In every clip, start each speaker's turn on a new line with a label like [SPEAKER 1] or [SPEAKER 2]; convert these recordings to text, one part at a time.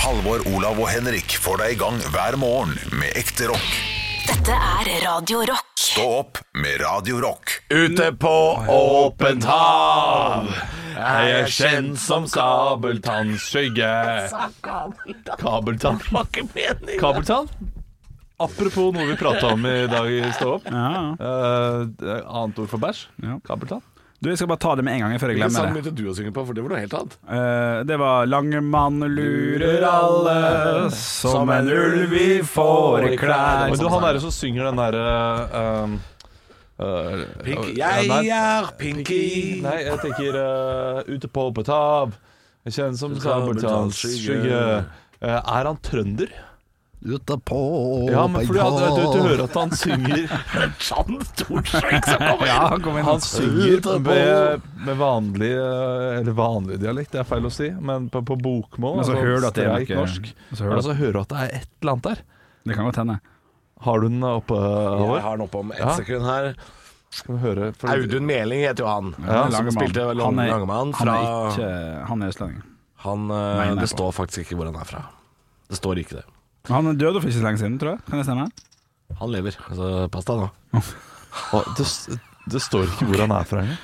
[SPEAKER 1] Halvor, Olav og Henrik får deg i gang hver morgen med ekte rock.
[SPEAKER 2] Dette er Radio Rock.
[SPEAKER 1] Stå opp med Radio Rock.
[SPEAKER 3] Ute på åpent hav er jeg kjent som kabeltannskygge. Kabeltann. Kabeltann? Apropos noe vi prata om i dag i Stå opp.
[SPEAKER 4] Ja.
[SPEAKER 3] Eh, det er annet ord for bæsj?
[SPEAKER 4] Ja.
[SPEAKER 3] Kabeltann?
[SPEAKER 4] Du, jeg skal bare ta det med en gang før jeg
[SPEAKER 5] Hvilken sang
[SPEAKER 4] glemmer det.
[SPEAKER 5] begynte du å synge på? For det var noe helt annet.
[SPEAKER 4] Eh, det var Langemann lurer alle, som en ulv i fåreklær.
[SPEAKER 3] Men du, han derre som synger den derre eh, eh,
[SPEAKER 5] Pink-
[SPEAKER 3] ja,
[SPEAKER 5] Jeg
[SPEAKER 3] nei.
[SPEAKER 5] er Pinky.
[SPEAKER 3] Nei, jeg tenker eh, ute på åpent hav. Jeg kjenner som kabeltannskygge. Eh, er han trønder?
[SPEAKER 6] Utapå
[SPEAKER 3] Ja, men fordi han, du, du hører at han synger
[SPEAKER 5] Sånn stort skjegg som kommer
[SPEAKER 4] Ja,
[SPEAKER 5] inn.
[SPEAKER 4] kom inn.
[SPEAKER 3] Han synger
[SPEAKER 5] Utapå.
[SPEAKER 3] med, med vanlig eh, Eller vanlig dialekt, det er feil å si, men på, på bokmål. altså,
[SPEAKER 4] Men så hører du at det er
[SPEAKER 3] streik
[SPEAKER 4] noe-
[SPEAKER 3] norsk.
[SPEAKER 4] så hører
[SPEAKER 3] Men
[SPEAKER 4] du-
[SPEAKER 3] altså hører du at det er et eller annet der.
[SPEAKER 4] Det kan godt hende.
[SPEAKER 3] Har du den oppe, Halvor?
[SPEAKER 5] Jeg har den oppe om ett
[SPEAKER 3] Ja.
[SPEAKER 5] sekund her.
[SPEAKER 3] Skal vi høre? for-
[SPEAKER 5] Audun Meling heter jo han.
[SPEAKER 4] Han er
[SPEAKER 5] som
[SPEAKER 4] Langemann.
[SPEAKER 5] spilte Lang-
[SPEAKER 4] Han er-
[SPEAKER 5] Langemann
[SPEAKER 4] Han
[SPEAKER 5] fra
[SPEAKER 4] er ikke Han er østlending.
[SPEAKER 5] han, eh,
[SPEAKER 4] Mener jeg
[SPEAKER 5] Det
[SPEAKER 4] på.
[SPEAKER 5] står faktisk ikke hvor han er fra. Det står ikke det.
[SPEAKER 4] Men Han døde for ikke så lenge siden, tror jeg. Kan det stemme?
[SPEAKER 5] Han lever, så pass deg nå.
[SPEAKER 3] Å, det, s- det står ikke hvor han er fra engang.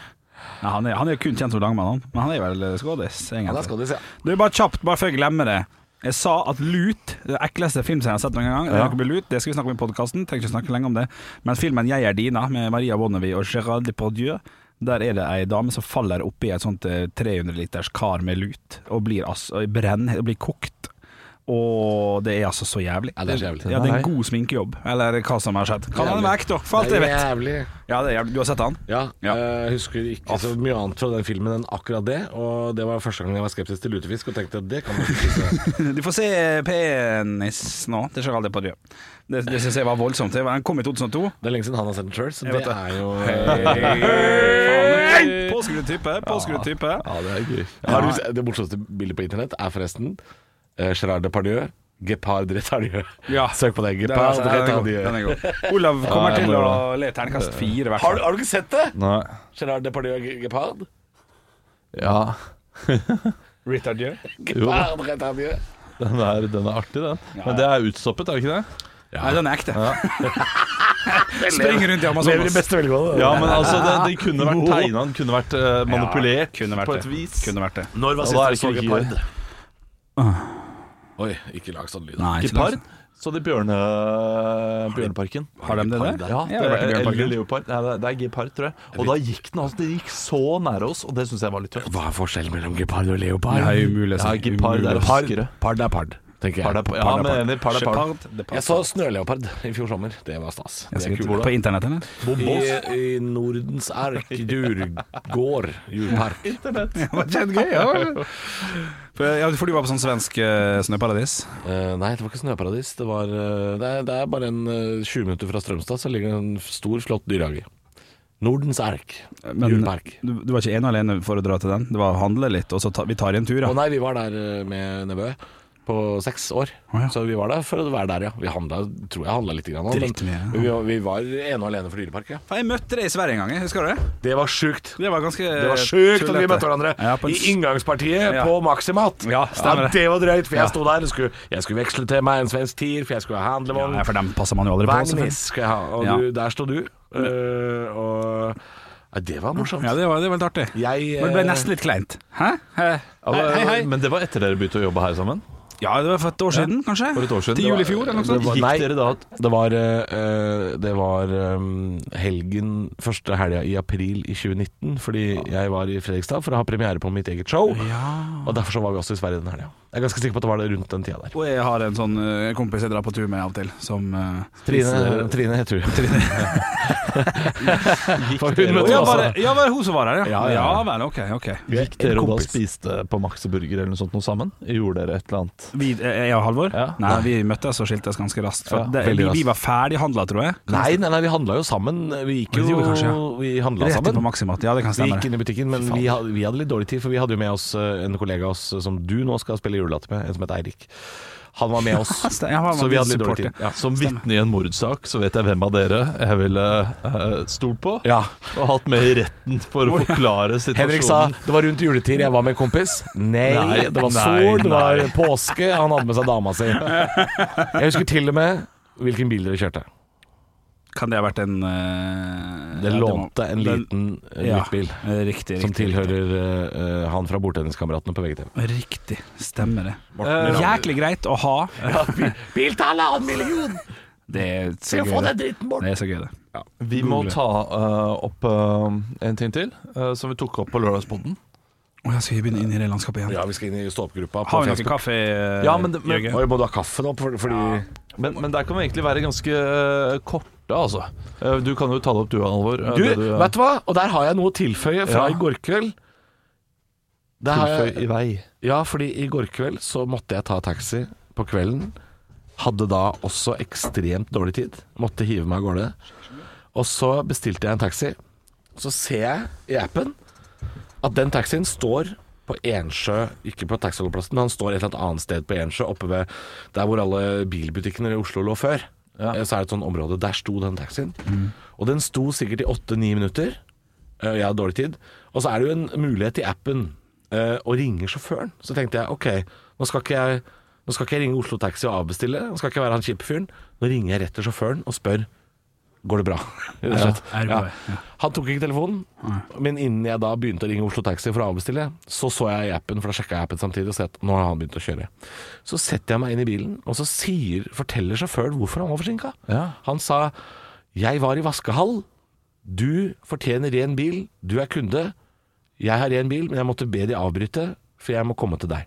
[SPEAKER 4] Nei, han, er, han er jo kun kjent som Langmann, han. Men han er vel eh, skådis, egentlig.
[SPEAKER 5] Han er skådis, ja.
[SPEAKER 4] Du, bare kjapt, bare før jeg glemmer det. Jeg sa at Lut, den ekleste filmserien jeg har sett noen gang, det,
[SPEAKER 3] Ja.
[SPEAKER 4] er noe med Lut, det skal vi snakke om i podkasten. Trenger ikke snakke lenge om det. Men filmen 'Jeg er dina' med Maria Bonnevie og Gérard Depardieu, der er det ei dame som faller oppi et sånt eh, 300 liters kar med lut, og blir, altså, brenn, og blir kokt. Og det er altså så jævlig.
[SPEAKER 5] Ja, det er så jævlig.
[SPEAKER 4] Ja, det er en god sminkejobb, eller hva som har skjedd. Kan han
[SPEAKER 5] Jævlig.
[SPEAKER 4] være ekte, for alt
[SPEAKER 5] Det
[SPEAKER 4] jeg
[SPEAKER 5] er
[SPEAKER 4] vet.
[SPEAKER 5] Jævlig.
[SPEAKER 4] Ja, det er jævlig. Du har sett han?
[SPEAKER 5] Ja,
[SPEAKER 4] Ja.
[SPEAKER 5] jeg husker ikke så mye annet fra den filmen enn akkurat det. Og det var første gang jeg var skeptisk til lutefisk og tenkte at det kan man ikke spise.
[SPEAKER 4] Du får se eh, penis nå til Gerald Depardieu. Det, det synes jeg var voldsomt. Det var- Han kom i 2002.
[SPEAKER 5] Det er lenge siden han har sett den sjøl, så
[SPEAKER 4] Jeg
[SPEAKER 5] det
[SPEAKER 4] vet
[SPEAKER 5] er jo
[SPEAKER 4] Påskrudd type, påskrudd type.
[SPEAKER 3] Ja, det er gøy.
[SPEAKER 5] Har du, se- Det morsomste bildet på internett er forresten eh, Gerard Depardieu. Gepard Retardieu.
[SPEAKER 4] Ja.
[SPEAKER 5] Søk på det.
[SPEAKER 4] Den er,
[SPEAKER 5] Gepard
[SPEAKER 4] den er god,
[SPEAKER 5] Retardieu.
[SPEAKER 4] den er god. Olav kommer
[SPEAKER 3] Ja, jeg
[SPEAKER 4] til
[SPEAKER 3] må
[SPEAKER 4] å le terningkast fire, i hvert
[SPEAKER 5] Har, du-
[SPEAKER 4] fall.
[SPEAKER 5] har du ikke sett det?
[SPEAKER 3] Nei.
[SPEAKER 5] Gerard Depardieu og Ge- Gepard?
[SPEAKER 3] Ja.
[SPEAKER 4] Retardieu.
[SPEAKER 5] Gepard Retardieu.
[SPEAKER 3] Den er, den er artig, den. Men det er utstoppet, er det ikke det?
[SPEAKER 4] Nei, den er ekte. Springer rundt i
[SPEAKER 5] Lever i
[SPEAKER 4] Amazonas.
[SPEAKER 5] beste velgående.
[SPEAKER 3] Ja, men altså, den, den kunne vært tegna, den kunne vært eh, manipulert
[SPEAKER 4] kunne vært
[SPEAKER 3] på
[SPEAKER 4] det.
[SPEAKER 3] et vis.
[SPEAKER 4] Kunne vært det.
[SPEAKER 5] Når
[SPEAKER 3] Og da er det ikke like-
[SPEAKER 5] Oi, ikke lag sånn lyd.
[SPEAKER 4] Nei, ikke
[SPEAKER 3] Gepard
[SPEAKER 4] langt.
[SPEAKER 3] så det i bjørne, Bjørneparken.
[SPEAKER 4] Har de det der?
[SPEAKER 3] Ja,
[SPEAKER 4] Jeg
[SPEAKER 3] det
[SPEAKER 4] har vært i
[SPEAKER 3] er, eller
[SPEAKER 4] Bjørneparken.
[SPEAKER 3] leopard. Nei, det er- det er gepard, tror jeg. Og da gikk den altså, den gikk så nære oss, og det syns jeg var litt tøft.
[SPEAKER 5] Hva er forskjellen mellom gepard og leopard?
[SPEAKER 4] Det er umulig å
[SPEAKER 3] Ja,
[SPEAKER 4] si.
[SPEAKER 3] gepard er raskere.
[SPEAKER 5] Pard er pard, tenker jeg.
[SPEAKER 3] Pard er pa- Ja,
[SPEAKER 5] Pard er
[SPEAKER 3] men
[SPEAKER 5] pard.
[SPEAKER 3] enig, pard er pard.
[SPEAKER 4] Shepard, det
[SPEAKER 5] Jeg
[SPEAKER 4] passer.
[SPEAKER 5] så snøleopard i fjor sommer. Det var stas.
[SPEAKER 4] Jeg
[SPEAKER 5] Det er
[SPEAKER 4] sikkert-
[SPEAKER 5] kult.
[SPEAKER 4] På internett, eller?
[SPEAKER 5] I, I Nordens Ark Djurgård Djurpark.
[SPEAKER 4] Det var kjempegøy. Ja. For, ja, for du var på sånn svensk eh, snøparadis?
[SPEAKER 5] Eh, nei, det var ikke snøparadis. Det, var, eh, det, er, det er bare en eh, 20 minutter fra Strømstad, så ligger det en stor, flott dyrehage. Nordens Ark
[SPEAKER 4] Eh, Men
[SPEAKER 5] Djurpark.
[SPEAKER 4] du, du var ikke ene og alene for å dra til den? Det var handle litt, og så ta, vi tar en tur, ja.
[SPEAKER 5] Å nei, vi var der eh, med nevø på seks år.
[SPEAKER 4] Å, ja.
[SPEAKER 5] Så vi var der for å være der, ja. Vi handla, tror jeg handla litt. Grann, også,
[SPEAKER 4] Dritmye, ja.
[SPEAKER 5] men vi, var- vi var ene og alene for Dyrepark, ja.
[SPEAKER 4] Faen, Jeg møtte deg i Sverige en gang, jeg. husker du det?
[SPEAKER 5] Det var sjukt.
[SPEAKER 4] Det var ganske
[SPEAKER 5] Det var sjukt at vi
[SPEAKER 4] tullete.
[SPEAKER 5] møtte hverandre
[SPEAKER 4] Ja, på en
[SPEAKER 5] i
[SPEAKER 4] s-
[SPEAKER 5] inngangspartiet
[SPEAKER 4] Ja.
[SPEAKER 5] på Maximat.
[SPEAKER 4] Ja, stemmer det.
[SPEAKER 5] det var drøyt, for jeg sto der. og Skulle, jeg skulle veksle til meg en svensk tier, for jeg skulle ha handlevogn.
[SPEAKER 4] Nei, for dem passer man jo aldri på. selvfølgelig.
[SPEAKER 5] Vagnis skal jeg ha. Og
[SPEAKER 4] Ja.
[SPEAKER 5] du, der står du. øh, og ja, Det var morsomt.
[SPEAKER 4] Ja, det var, det var litt artig.
[SPEAKER 5] Jeg,
[SPEAKER 4] Men det ble
[SPEAKER 5] eh,
[SPEAKER 4] nesten litt kleint. Hæ? Hæ?
[SPEAKER 3] Ja,
[SPEAKER 4] Hei, hei, hei.
[SPEAKER 3] Altså, Men det var etter dere begynte å jobbe her sammen?
[SPEAKER 4] Ja, det var for et år siden, kanskje?
[SPEAKER 3] For et år siden.
[SPEAKER 4] Til jul i fjor, eller noe
[SPEAKER 3] Det
[SPEAKER 4] sånt.
[SPEAKER 3] var- Gikk
[SPEAKER 5] Nei.
[SPEAKER 3] dere da
[SPEAKER 5] eh, Det var, øh, det var øhm, helgen første helga i april i 2019, fordi jeg var i Fredrikstad for å ha premiere på mitt eget show. Og derfor så var vi også i Sverige den helga. Jeg er ganske sikker på at det var det rundt den tida der.
[SPEAKER 4] Og jeg har en sånn eh, kompis jeg drar på tur med av og til, som eh,
[SPEAKER 5] Trine, Trine heter hun. For hun
[SPEAKER 4] Å,
[SPEAKER 5] møtte
[SPEAKER 4] ja,
[SPEAKER 5] også
[SPEAKER 4] var det, ja, var det hun som var her, ja?
[SPEAKER 5] Ja, ja, ja.
[SPEAKER 4] vel, ok. ok
[SPEAKER 3] Gikk dere
[SPEAKER 5] En
[SPEAKER 3] og da
[SPEAKER 5] kompis.
[SPEAKER 3] spiste på Max og Burger eller noe sånt noe sammen? Gjorde dere et eller annet?
[SPEAKER 4] Vi, eh, jeg og Halvor?
[SPEAKER 3] Ja.
[SPEAKER 4] Nei, vi møttes og skiltes ganske raskt. For
[SPEAKER 3] Ja,
[SPEAKER 4] det,
[SPEAKER 5] veldig
[SPEAKER 4] vi,
[SPEAKER 5] raskt.
[SPEAKER 4] vi var ferdighandla, tror jeg.
[SPEAKER 5] Nei, nei, nei, vi handla jo sammen. Vi gikk
[SPEAKER 4] Ja,
[SPEAKER 5] jo
[SPEAKER 4] det gjorde vi kanskje, ja.
[SPEAKER 5] Vi handla
[SPEAKER 4] Rett inn på
[SPEAKER 5] sammen.
[SPEAKER 4] Maximat. Ja, det kan
[SPEAKER 5] Vi
[SPEAKER 4] stemme.
[SPEAKER 5] gikk inn i butikken, men vi hadde, vi hadde litt dårlig tid, for vi hadde jo med oss eh, en kollega av oss eh, som du nå skal spille bli julelatter med, en som het Eirik. Han var med oss.
[SPEAKER 4] Stem- ja, han var
[SPEAKER 5] Så vi
[SPEAKER 4] med
[SPEAKER 5] hadde litt
[SPEAKER 4] supporter.
[SPEAKER 5] dårlig tid. Ja.
[SPEAKER 3] Som vitne i en mordsak, så vet jeg hvem av dere jeg ville eh, stolt på.
[SPEAKER 5] Ja.
[SPEAKER 3] Og hatt med i retten for å forklare
[SPEAKER 5] Henrik sa
[SPEAKER 3] situasjonen.
[SPEAKER 5] det var rundt juletid, jeg var med en kompis. Nei,
[SPEAKER 3] Nei,
[SPEAKER 5] det var
[SPEAKER 3] nei,
[SPEAKER 5] sol, det var
[SPEAKER 3] nei.
[SPEAKER 5] påske, han hadde med seg dama si. Jeg husker til og med hvilken bil dere kjørte.
[SPEAKER 4] Kan det ha vært en eh,
[SPEAKER 5] Det
[SPEAKER 4] ja, må-
[SPEAKER 5] lånte en
[SPEAKER 4] den-
[SPEAKER 5] liten eh,
[SPEAKER 4] ja,
[SPEAKER 5] lyktbil
[SPEAKER 4] eh, Riktig.
[SPEAKER 5] som
[SPEAKER 4] riktig,
[SPEAKER 5] tilhører eh, eh, han fra Bordtenniskameratene på VGTV.
[SPEAKER 4] Riktig. Stemmer det.
[SPEAKER 5] Morten
[SPEAKER 4] Eh,
[SPEAKER 5] Ramm.
[SPEAKER 4] jæklig greit å ha.
[SPEAKER 5] Bil til halvannen million!
[SPEAKER 4] Det er så gøy, det.
[SPEAKER 5] dritten bort!
[SPEAKER 4] Det er så gøy, det.
[SPEAKER 3] Vi må ta eh, opp eh, en ting til, eh, som vi tok opp på Lørdagsboden.
[SPEAKER 4] Å, jeg skal begynne inn i det landskapet igjen.
[SPEAKER 5] Ja, vi skal inn i stå-opp-gruppa. på
[SPEAKER 4] Har vi noe
[SPEAKER 5] Facebook.
[SPEAKER 4] kaffe, eh,
[SPEAKER 3] Ja, men det- men-
[SPEAKER 4] Jørgen?
[SPEAKER 5] Oi, må du ha kaffe nå? For, fordi
[SPEAKER 3] Men, men der kan vi egentlig være ganske eh, korte, altså. Eh, Du kan jo ta det opp du, Alvor. eh,
[SPEAKER 5] Du,
[SPEAKER 3] det
[SPEAKER 5] vet du hva? Og der har jeg noe å tilføye fra
[SPEAKER 3] Ja.
[SPEAKER 5] i går kveld. Der har jeg-
[SPEAKER 3] Tilføy i vei.
[SPEAKER 5] Ja, fordi i går kveld så måtte jeg ta taxi på kvelden. Hadde da også ekstremt dårlig tid. Måtte hive meg av gårde. Og så bestilte jeg en taxi. Så ser jeg i appen at den taxien står på Ensjø, ikke på taxiholdeplassen, men han står et eller annet annet sted på Ensjø, oppe ved der hvor alle bilbutikkene i Oslo lå før.
[SPEAKER 3] Ja.
[SPEAKER 5] Eh, Så er det et sånt område. Der sto den taxien. Og den sto sikkert i åtte-ni minutter. Eh, Jeg har dårlig tid. Og så er det jo en mulighet i appen eh, å ringe sjåføren. Så tenkte jeg ok, nå skal ikke jeg, nå skal ikke jeg ringe Oslo Taxi og avbestille. Nå skal ikke jeg være han kjipe fyren. Nå ringer jeg rett til sjåføren og spør går det bra. Rett og slett.
[SPEAKER 4] Ja, er det bra? Ja.
[SPEAKER 5] Han tok ikke telefonen, men innen jeg da begynte å ringe Oslo Taxi for å avbestille, så så jeg i appen, for da sjekka jeg appen samtidig og så at nå har han begynt å kjøre. Så setter jeg meg inn i bilen, og så sier, forteller sjåføren hvorfor han var forsinka.
[SPEAKER 3] Ja.
[SPEAKER 5] Han sa 'Jeg var i vaskehall'. Du fortjener ren bil, du er kunde. Jeg har ren bil, men jeg måtte be de avbryte, for jeg må komme til deg.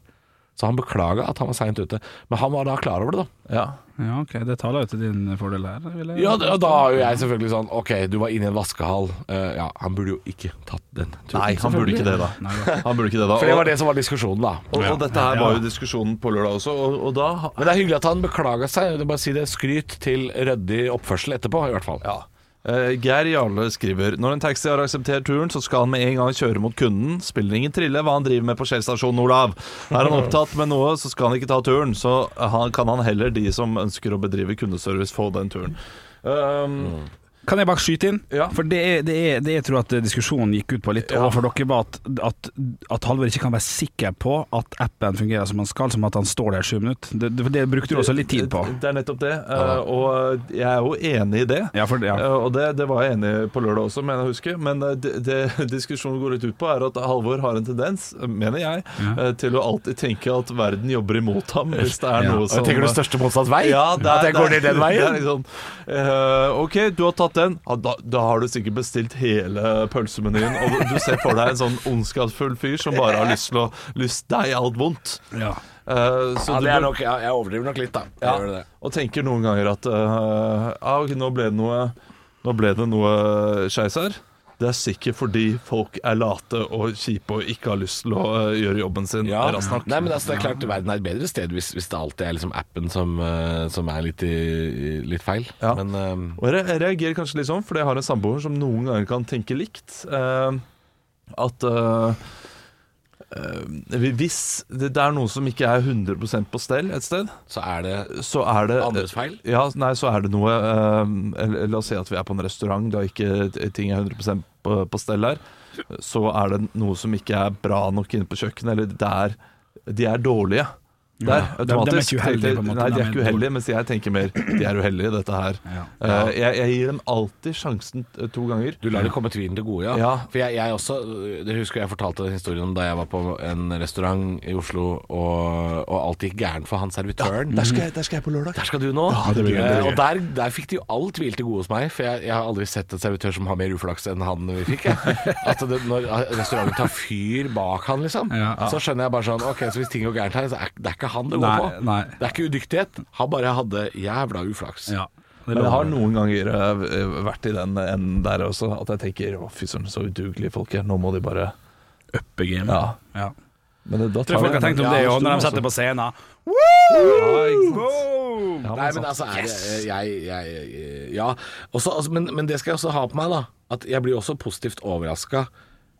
[SPEAKER 5] Så han beklaga at han var seint ute. Men han var da klar over det, da.
[SPEAKER 3] Ja.
[SPEAKER 4] Ja, ok, det taler jo til din fordel her. Vil jeg...
[SPEAKER 5] Ja, da, da er jo jeg selvfølgelig sånn OK, du var inne i en vaskehall. Eh, ja, han burde jo ikke tatt den turen.
[SPEAKER 3] Nei, han burde ikke det, da.
[SPEAKER 4] Nei, da.
[SPEAKER 3] Han burde ikke det, da.
[SPEAKER 5] For det var
[SPEAKER 3] Og,
[SPEAKER 5] det som var diskusjonen, da.
[SPEAKER 3] og, og dette her var jo diskusjonen på lørdag også, og, og da
[SPEAKER 5] Men det er hyggelig at han beklaga seg. Jeg vil bare si det. Skryt til ryddig oppførsel etterpå, i hvert fall.
[SPEAKER 3] Ja. Eh, Geir Jarle skriver Når en taxi har akseptert turen, så skal han med en gang kjøre mot kunden. Spiller ingen trille hva han driver med på Kjell stasjon, Olav. Er han opptatt med noe, så skal han ikke ta turen. Så han, kan han heller, de som ønsker å bedrive kundeservice, få den turen. Um,
[SPEAKER 4] Kan jeg bare skyte inn?
[SPEAKER 3] Ja.
[SPEAKER 4] For det, er- det, er- det jeg tror at diskusjonen gikk ut på litt
[SPEAKER 3] Ja.
[SPEAKER 4] overfor dere, var at, at, at Halvor ikke kan være sikker på at appen fungerer som han skal, som at han står der sju minutter. Det, det, det brukte du også litt tid på.
[SPEAKER 3] Det, det er nettopp det, eh, og jeg er jo enig i det.
[SPEAKER 4] Ja, for ja.
[SPEAKER 3] Eh, Og det, det var jeg enig i på lørdag også, mener jeg å huske. Men eh, det, det diskusjonen går litt ut på, er at Halvor har en tendens, mener jeg, eh, til å alltid tenke at verden jobber imot ham hvis det er
[SPEAKER 4] Ja.
[SPEAKER 3] noe som eh,
[SPEAKER 5] Tenker du største motstands vei?
[SPEAKER 3] Ja, det er-
[SPEAKER 5] at jeg går
[SPEAKER 3] det
[SPEAKER 5] ned
[SPEAKER 3] er-
[SPEAKER 5] den
[SPEAKER 3] det er
[SPEAKER 5] veien?
[SPEAKER 3] liksom, eh, ok, du har tatt den. Ja, da, da har du sikkert bestilt hele pølsemenyen. Og du ser for deg en sånn ondskapsfull fyr som bare har lyst til å lyste deg alt vondt.
[SPEAKER 4] Ja.
[SPEAKER 3] Eh, så
[SPEAKER 5] Ja,
[SPEAKER 3] du
[SPEAKER 5] det er
[SPEAKER 3] bør-
[SPEAKER 5] nok, ja, jeg overdriver nok litt, da. Jeg
[SPEAKER 3] ja,
[SPEAKER 5] gjør det.
[SPEAKER 3] og tenker noen ganger at eh, ah, ok, nå ble det noe Nå ble det noe skeis her. Det er sikkert fordi folk er late og kjipe og ikke har lyst til å eh, gjøre jobben sin
[SPEAKER 5] Ja.
[SPEAKER 3] raskt nok.
[SPEAKER 5] Nei, men altså, det er klart verden er et bedre sted hvis, hvis det alltid er liksom appen som, eh, som er litt, i, litt feil.
[SPEAKER 3] Ja.
[SPEAKER 5] Men eh,
[SPEAKER 3] Og jeg reagerer kanskje litt sånn, fordi jeg har en samboer som noen ganger kan tenke likt. eh, at eh, eh, hvis det, det er noe som ikke er 100 på stell et sted,
[SPEAKER 5] så er det
[SPEAKER 3] så er det
[SPEAKER 5] andres feil.
[SPEAKER 3] Ja, altså, nei, så er det noe eh, eller- La oss si at vi er på en restaurant, da ikke t- ting er 100 på, på stell der. Så er det noe som ikke er bra nok inne på kjøkkenet, eller der de er dårlige. Der,
[SPEAKER 4] Ja, de- de er
[SPEAKER 3] automatisk.
[SPEAKER 4] ikke uheldige, på en måte.
[SPEAKER 3] Nei, de er
[SPEAKER 4] De er
[SPEAKER 3] ikke uheldige, mens jeg tenker mer de er uheldige, dette her.
[SPEAKER 4] Ja.
[SPEAKER 3] Eh, jeg, jeg gir dem alltid sjansen eh, to ganger.
[SPEAKER 5] Du lar det komme tvilen til gode, ja.
[SPEAKER 3] Ja.
[SPEAKER 5] For jeg, jeg også øh, Det husker jeg fortalte den historien om da jeg var på en restaurant i Oslo, og, og alt gikk gærent for han servitøren.
[SPEAKER 3] Der skal, jeg, der skal jeg på lørdag.
[SPEAKER 5] Der skal du nå.
[SPEAKER 4] det blir gøy, det
[SPEAKER 5] Eh,
[SPEAKER 4] blir
[SPEAKER 5] og der, der fikk de jo all tvil til gode hos meg, for jeg, jeg har aldri sett en servitør som har mer uflaks enn han vi fikk. Jeg. At det, når ah, restauranten tar fyr bak han, liksom,
[SPEAKER 4] Ja.
[SPEAKER 5] så skjønner jeg bare sånn Ok, så hvis ting går gærent her, så er det er ikke han det går
[SPEAKER 4] Nei,
[SPEAKER 5] på.
[SPEAKER 4] nei.
[SPEAKER 5] Det er ikke udyktighet. Han bare hadde jævla uflaks.
[SPEAKER 4] ja.
[SPEAKER 3] Men
[SPEAKER 4] Det
[SPEAKER 3] jeg har
[SPEAKER 4] lover.
[SPEAKER 3] noen ganger eh, vært i den enden der også, at jeg tenker å fy søren, så udugelige folk er. Nå må de bare
[SPEAKER 4] Begynn.
[SPEAKER 3] Ja.
[SPEAKER 4] Ja.
[SPEAKER 3] Men det, da
[SPEAKER 4] Jeg tror folk har
[SPEAKER 3] jeg-
[SPEAKER 4] tenkt om
[SPEAKER 3] Ja,
[SPEAKER 4] det jo,
[SPEAKER 3] stor
[SPEAKER 4] når de
[SPEAKER 3] også.
[SPEAKER 4] setter på scenen.
[SPEAKER 3] Ja, ikke sant. Ja,
[SPEAKER 5] Nei, men altså er det, jeg, jeg, jeg Ja. Også, altså, men, men det skal jeg også ha på meg, da. At jeg blir også positivt overraska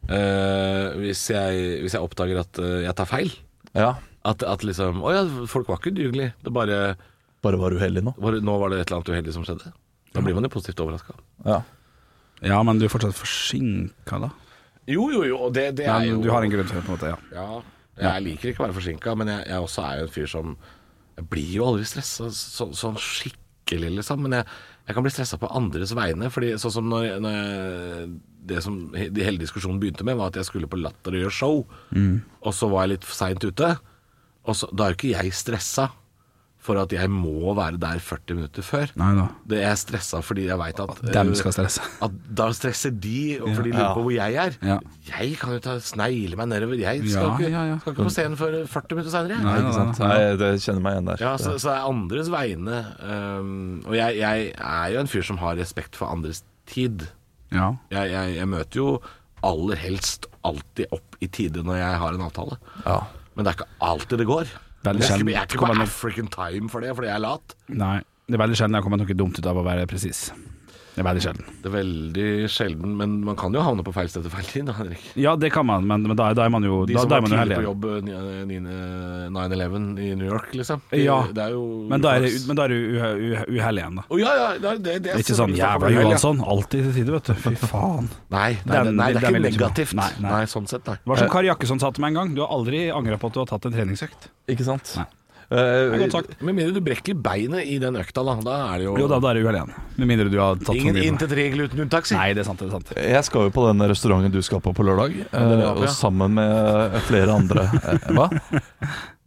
[SPEAKER 5] hvis, eh, jeg- hvis jeg oppdager at eh, jeg tar feil.
[SPEAKER 3] Ja.
[SPEAKER 5] At, at liksom Å ja, folk var ikke udugelige. Det bare
[SPEAKER 3] Bare var uheldig nå.
[SPEAKER 5] var, Nå var det et eller annet uheldig som skjedde. Da blir man jo positivt overraska.
[SPEAKER 3] Ja.
[SPEAKER 4] Ja, men du er fortsatt forsinka, da.
[SPEAKER 5] Jo, jo, jo. og Det, det er jo
[SPEAKER 4] Men du har en grunn til det, på en måte. ja
[SPEAKER 5] Ja, jeg liker ikke å være forsinka, men jeg, jeg også er jo en fyr som Jeg blir jo aldri stressa så, sånn skikkelig, liksom. Men jeg, jeg kan bli stressa på andres vegne. Fordi sånn som når, når jeg, det som he- de hele diskusjonen begynte med, var at jeg skulle på Latter og gjøre show.
[SPEAKER 4] Mm.
[SPEAKER 5] Og så var jeg litt seint ute. Og så, da er jo ikke jeg stressa for at jeg må være der 40 minutter før.
[SPEAKER 4] Nei da.
[SPEAKER 5] Det jeg er stressa fordi jeg veit at
[SPEAKER 4] dem skal stresse.
[SPEAKER 5] At da stresser de, og for de lurer på hvor jeg er.
[SPEAKER 4] Ja.
[SPEAKER 5] Jeg kan jo ta snegle meg nedover. Jeg skal,
[SPEAKER 4] Ja,
[SPEAKER 5] ikke,
[SPEAKER 4] ja, ja.
[SPEAKER 5] skal ikke på scenen før 40 minutter seinere.
[SPEAKER 4] Nei,
[SPEAKER 3] Ikke sant?
[SPEAKER 4] nei,
[SPEAKER 3] Nei, det kjenner meg igjen der.
[SPEAKER 5] Ja, så, så det er andres vegne. ehm, og jeg, jeg er jo en fyr som har respekt for andres tid.
[SPEAKER 4] Ja.
[SPEAKER 5] Jeg, jeg, jeg møter jo aller helst alltid opp i tide når jeg har en avtale.
[SPEAKER 3] Ja.
[SPEAKER 5] Men det er ikke alltid det går.
[SPEAKER 4] Veldig
[SPEAKER 5] Jeg er
[SPEAKER 4] sjelden.
[SPEAKER 5] ikke, jeg er ikke
[SPEAKER 4] Kommer
[SPEAKER 5] på
[SPEAKER 4] noen-
[SPEAKER 5] African time for det, fordi jeg er lat.
[SPEAKER 4] Nei. Det er veldig sjelden jeg kommer noe dumt ut av å være presis. Det er veldig sjelden.
[SPEAKER 5] Det er veldig sjelden, men man kan jo havne på feil sted til feil tid. da, Henrik.
[SPEAKER 4] Ja, det kan man, men, men da, da er man jo
[SPEAKER 5] De
[SPEAKER 4] da,
[SPEAKER 5] som
[SPEAKER 4] da er
[SPEAKER 5] var
[SPEAKER 4] man jo
[SPEAKER 5] tidlig på
[SPEAKER 4] heldig.
[SPEAKER 5] jobb eh, 9- 9-11 i New York, liksom. De-
[SPEAKER 4] Ja.
[SPEAKER 5] Det er jo
[SPEAKER 4] Men da er det
[SPEAKER 5] uflaks.
[SPEAKER 4] men da er det uhe- uhe- uheldig igjen, da.
[SPEAKER 5] Å, ja, ja, det, er- det, det
[SPEAKER 4] Det er ikke sånn
[SPEAKER 5] selvfølgelig
[SPEAKER 4] jævla
[SPEAKER 5] snakk om uhell, ja.
[SPEAKER 4] Johansson, alltid til tide, vet du. Fy faen.
[SPEAKER 5] Nei,
[SPEAKER 4] Den-
[SPEAKER 5] nei, nei, det
[SPEAKER 4] den
[SPEAKER 5] er ikke
[SPEAKER 4] vil jeg ikke
[SPEAKER 5] negativt.
[SPEAKER 4] på.
[SPEAKER 5] Nei,
[SPEAKER 4] Nei, nei.
[SPEAKER 5] sånn sett,
[SPEAKER 4] Det
[SPEAKER 5] nei.
[SPEAKER 4] var som Kari Jakkesson sa til meg en gang, du har aldri angra på at du har tatt en treningsøkt.
[SPEAKER 3] Ikke sant?
[SPEAKER 4] Nei.
[SPEAKER 3] Eh,
[SPEAKER 4] Godt sagt.
[SPEAKER 5] Med mindre du brekker beinet i den økta, da. Da er det jo,
[SPEAKER 4] Jo da, da er det uhell igjen. Med mindre du har tatt
[SPEAKER 5] ingen
[SPEAKER 4] for mye.
[SPEAKER 5] intet regel uten unntak, si.
[SPEAKER 4] Nei, det er sant, det er sant.
[SPEAKER 3] jeg skal jo på den restauranten du skal på på lørdag,
[SPEAKER 5] den er
[SPEAKER 3] eh,
[SPEAKER 5] oppe,
[SPEAKER 3] og
[SPEAKER 5] ja.
[SPEAKER 3] sammen med flere andre. Eh, Hva?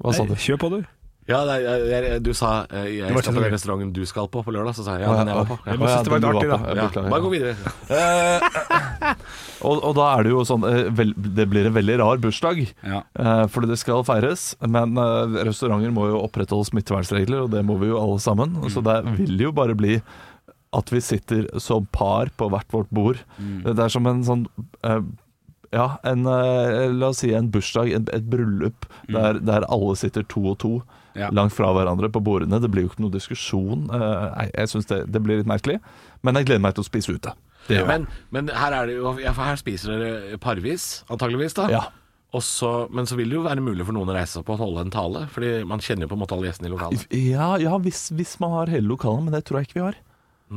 [SPEAKER 3] Hva sa du?
[SPEAKER 4] Kjør på, du.
[SPEAKER 5] Ja, nei, jeg, jeg, du sa eh, jeg
[SPEAKER 4] var
[SPEAKER 5] skal
[SPEAKER 4] ikke
[SPEAKER 5] på
[SPEAKER 4] så-
[SPEAKER 5] den restauranten du skal på på lørdag, så sa jeg ja, den jeg var på.
[SPEAKER 3] Å,
[SPEAKER 5] Ja.
[SPEAKER 4] bare
[SPEAKER 3] ja,
[SPEAKER 4] synes det var
[SPEAKER 3] den
[SPEAKER 4] litt
[SPEAKER 3] du
[SPEAKER 4] artig, da.
[SPEAKER 3] på. Jeg
[SPEAKER 5] Ja,
[SPEAKER 3] beklager.
[SPEAKER 5] bare gå videre.
[SPEAKER 3] Og, og da er det jo sånn eh, vel, Det blir en veldig rar bursdag,
[SPEAKER 4] Ja.
[SPEAKER 3] eh, fordi det skal feires. Men eh, restauranter må jo opprettholde smittevernregler, og det må vi jo alle sammen. Så det vil jo bare bli at vi sitter som par på hvert vårt bord. Det er som en sånn eh, Ja, en, eh, la oss si en bursdag, en, et bryllup, der, der alle sitter to og to.
[SPEAKER 4] Ja.
[SPEAKER 3] Langt fra hverandre på bordene. Det blir jo ikke noe diskusjon. Eh, nei, jeg synes det, det blir litt merkelig. Men jeg gleder meg til å spise ute. Det gjør jeg.
[SPEAKER 5] Men, men her er det jo ja, for Her spiser dere parvis, antageligvis da.
[SPEAKER 3] Ja.
[SPEAKER 5] Og så- men så vil det jo være mulig for noen å reise seg opp og holde en tale, fordi man kjenner jo på en måte alle gjestene i lokalet.
[SPEAKER 3] Ja, ja hvis, hvis man har hele lokalet, men det tror jeg ikke vi har.